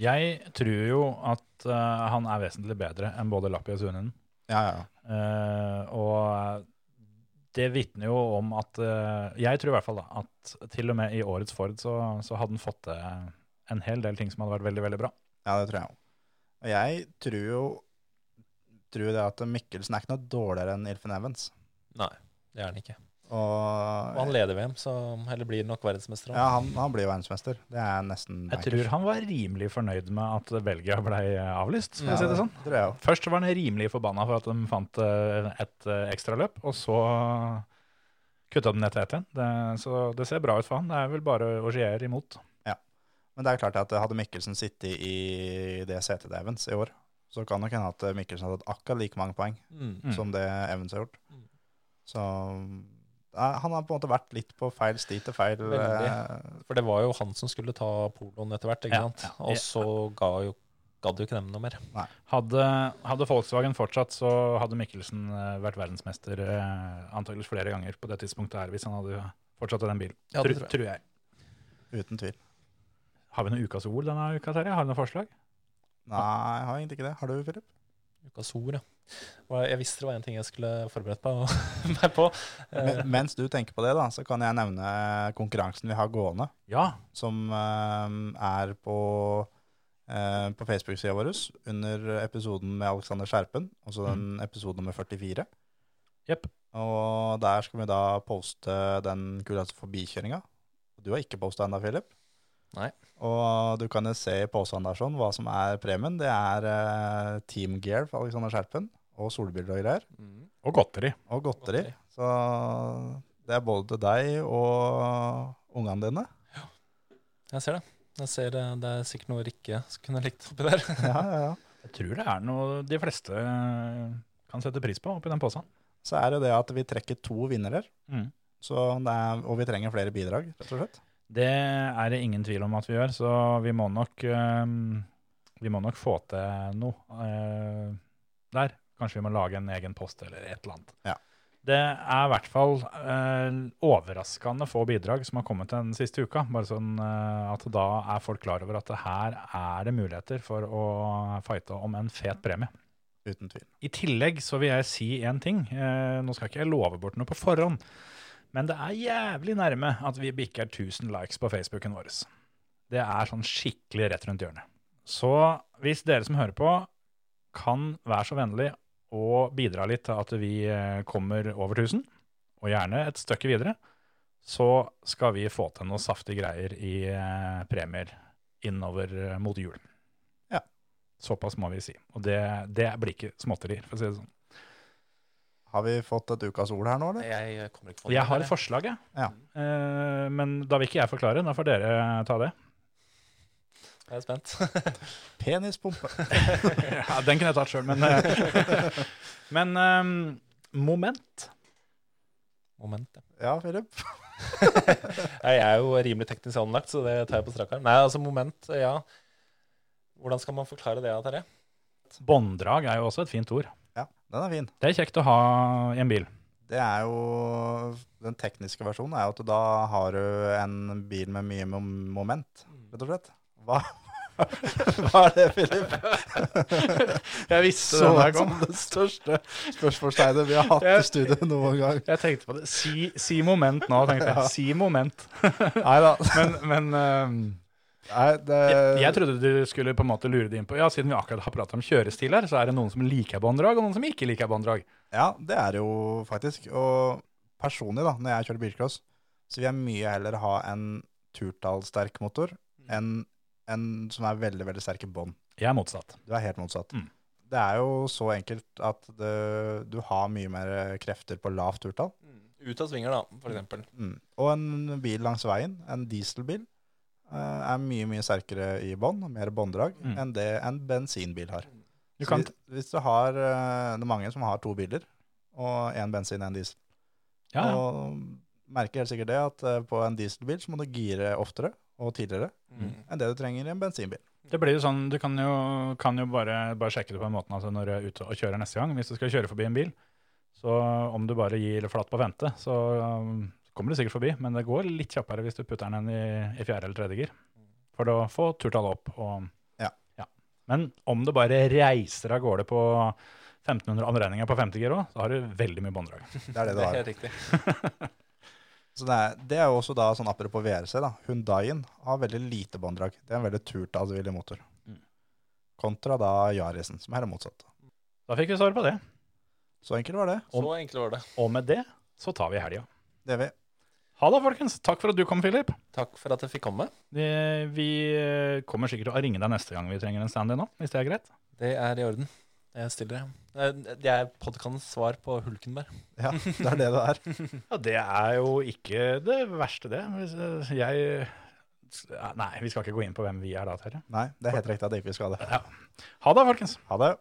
Jeg tror jo at eh, han er vesentlig bedre enn både Lappi og Sunen.
Ja, ja.
Eh, og det vitner jo om at eh, Jeg tror i hvert fall da, at til og med i årets Ford så, så hadde den fått til en hel del ting som hadde vært veldig veldig bra.
Ja, det tror jeg òg. Og jeg tror jo tror det at Mikkelsen er ikke noe dårligere enn Ilfen Evans.
Det er han ikke. Og
Og
han leder VM, så eller blir nok verdensmester.
ja,
han.
han, han blir jo verdensmester. Det er nesten
Jeg tror han var rimelig fornøyd med at Belgia ble eh, avlyst. for å si det sånn.
tror jeg òg.
Først var han rimelig forbanna for at de fant eh, et eh, ekstraløp, og så kutta de ned til ett igjen. Det- Så det ser bra ut for han. Det er vel bare Augier imot.
Men det er klart at hadde Mikkelsen sittet i det setet til Evans i år, så kan nok hende at Mikkelsen hadde hatt akkurat like mange poeng
Mm.
Mm.
som det Evans har gjort.
Mm.
Så eh, Han har på en måte vært litt på feil sti til feil eh,
Veldig. For det var jo han som skulle ta poloen etter hvert, ikke
Ja,
sant? Og så ga jo, gadd jo ikke dem noe mer.
Hadde, hadde Volkswagen fortsatt, så hadde Mikkelsen eh, vært verdensmester eh, antageligvis flere ganger på det tidspunktet her, hvis han hadde fortsatt i den bilen.
Ja, det tror jeg.
Tru- tror jeg.
Uten tvil.
Har vi noen ukas ord denne uka, Terje? Har du noen forslag?
Nei, jeg har egentlig ikke det. Har du, Filip?
Ukas ord, ja. Hva- Jeg visste det var en ting jeg skulle forberedt på, *laughs* meg på. Eh,
Men, mens du tenker på det, da, så kan jeg nevne konkurransen vi har gående,
Ja.
som eh, er på, eh, på Facebook-sida vår under episoden med Alexander Skjerpen, altså den
Mm.
episode nummer 44.
Jepp.
Og der skal vi da poste den kuleste forbikjøringa. Du har ikke posta ennå, Philip.
Nei.
Og du kan jo se i posen der sånn hva som er premien. Det er eh, Team Gear for Alexander Skjerpen, og solbriller og greier.
mm,
Og godteri.
Og godteri.
Godteri.
Så det er både til deg og ungene dine.
jeg ser det. Jeg ser eh, Det er sikkert noe Rikke kunne likt oppi der.
Ja, ja, ja.
Jeg tror det er noe de fleste eh, kan sette pris på oppi den posen.
Så er det det at vi trekker to vinnere,
Mm.
så det er, og vi trenger flere bidrag, rett og slett.
Det er det ingen tvil om at vi gjør, så vi må nok, øhm, vi må nok få til noe øh, der. Kanskje vi må lage en egen post eller et eller annet.
Ja.
Det er i hvert fall øh, overraskende få bidrag som har kommet den siste uka. Bare sånn øh, at da er folk klar over at det her er det muligheter for å fighte om en fet premie.
Uten tvil.
I tillegg så vil jeg si én ting. Eh, nå skal ikke jeg love bort noe på forhånd, men det er jævlig nærme at vi bikker 1000 likes på Facebooken vår. Det er sånn skikkelig rett rundt hjørnet. Så hvis dere som hører på, kan være så vennlig å bidra litt til at vi eh, kommer over 1000, og gjerne et stykke videre, så skal vi få til noen saftige greier i eh, premier innover eh, mot jul. Såpass må vi si. Og det, det blir ikke småtterier, for å si det sånn.
Har vi fått et ukas ord her nå, eller?
Jeg kommer ikke på
Jeg har et forslag, jeg.
Ja.
Eh, men da vil ikke jeg forklare, da får dere eh, ta det.
Jeg er spent. *laughs*
Penispumpe.
*laughs* ja, den kunne jeg tatt sjøl, men *laughs* eh, Men eh, moment.
Moment, ja.
Ja, Philip.
*laughs* Nei, Jeg er jo rimelig teknisk anlagt, så det tar jeg på strak arm. Nei, altså, moment, ja. Hvordan skal man forklare det, Terje?
Bånddrag er jo også et fint ord.
Ja, den er fin.
Det er kjekt å ha i en bil.
Det er jo Den tekniske versjonen er jo at da har du en bil med mye mom- moment, rett og slett. Hva, *laughs* Hva er det, Philip?
Jeg visste
Så ut som det største spørsmålstegnet vi har hatt i studio noen gang.
Jeg tenkte på det. Si, si moment nå, tenkte jeg. Si moment.
Nei *laughs* da.
Men, men eh,
ehm, Nei, det,
Jeg, jeg trodde du skulle på en måte lure det inn på Ja, siden vi akkurat har pratet om kjørestil her, så er det noen som liker bånddrag, og noen som ikke liker bånddrag.
Ja, det er det jo faktisk. Og personlig, da, når jeg kjører bilcross, så vil jeg mye heller ha en turtallsterk motor
Mm.
enn en som er veldig, veldig sterk i bånn.
Jeg er motsatt.
Du er helt motsatt.
Mm.
Det er jo så enkelt at det, du har mye mer krefter på lavt turtall.
Mm, Ut av svinger, da, for eksempel.
Mm. Og en bil langs veien, en dieselbil, eh, er mye, mye sterkere i bånd, mer bånddrag,
Mm.
enn det en bensinbil har.
Du
Så
kan,
hvis, hvis du har, eh, det er mange som har to biler, og en bensin og en diesel.
ja, ja.
Og merker helt sikkert det at eh, på en dieselbil så må du gire oftere og tidligere
Mm.
enn det du trenger i en bensinbil.
det blir jo sånn, du kan jo, kan jo bare, bare sjekke det på en måte altså når du er ute og kjører neste gang. Hvis du skal kjøre forbi en bil, så om du bare gir flatt på vente, så um, kommer du sikkert forbi, men det går litt kjappere hvis du putter den i, i fjerde eller tredje gir, for å få turtallet opp. Og,
Ja.
Men om du bare reiser av gårde på 1500 anregninger på femte gir også, så har du veldig mye bånddrag. *laughs*
Det er
Det
det du
er
har.
helt riktig.
Så det er, det er jo også da sånn apropos VRC, da. Hyundaien har veldig lite bånddrag. Det er en veldig turtallsvillig motor.
Mm.
Kontra da Yarisen, som her er motsatt.
Da fikk vi svar på det.
Så enkelt var det.
Så enkelt var det.
Og med det så tar vi helga.
Det er vi.
Ha det, folkens. Takk for at du kom, Philip.
Takk for at jeg fikk komme.
Eh, Vi eh, kommer sikkert til å ringe deg neste gang vi trenger en stand-in nå, hvis det er greit.
Det er i orden. Jeg stiller det. Det er podkastens svar på Hulkenberg.
Ja, det er det det er.
Ja, det er jo ikke det verste, det. Hvis, eh, Jeg Nei, vi skal ikke gå inn på hvem vi er da, Terje.
Nei, det er helt riktig at det ikke vi skal det.
Ha det, folkens.
Ha det.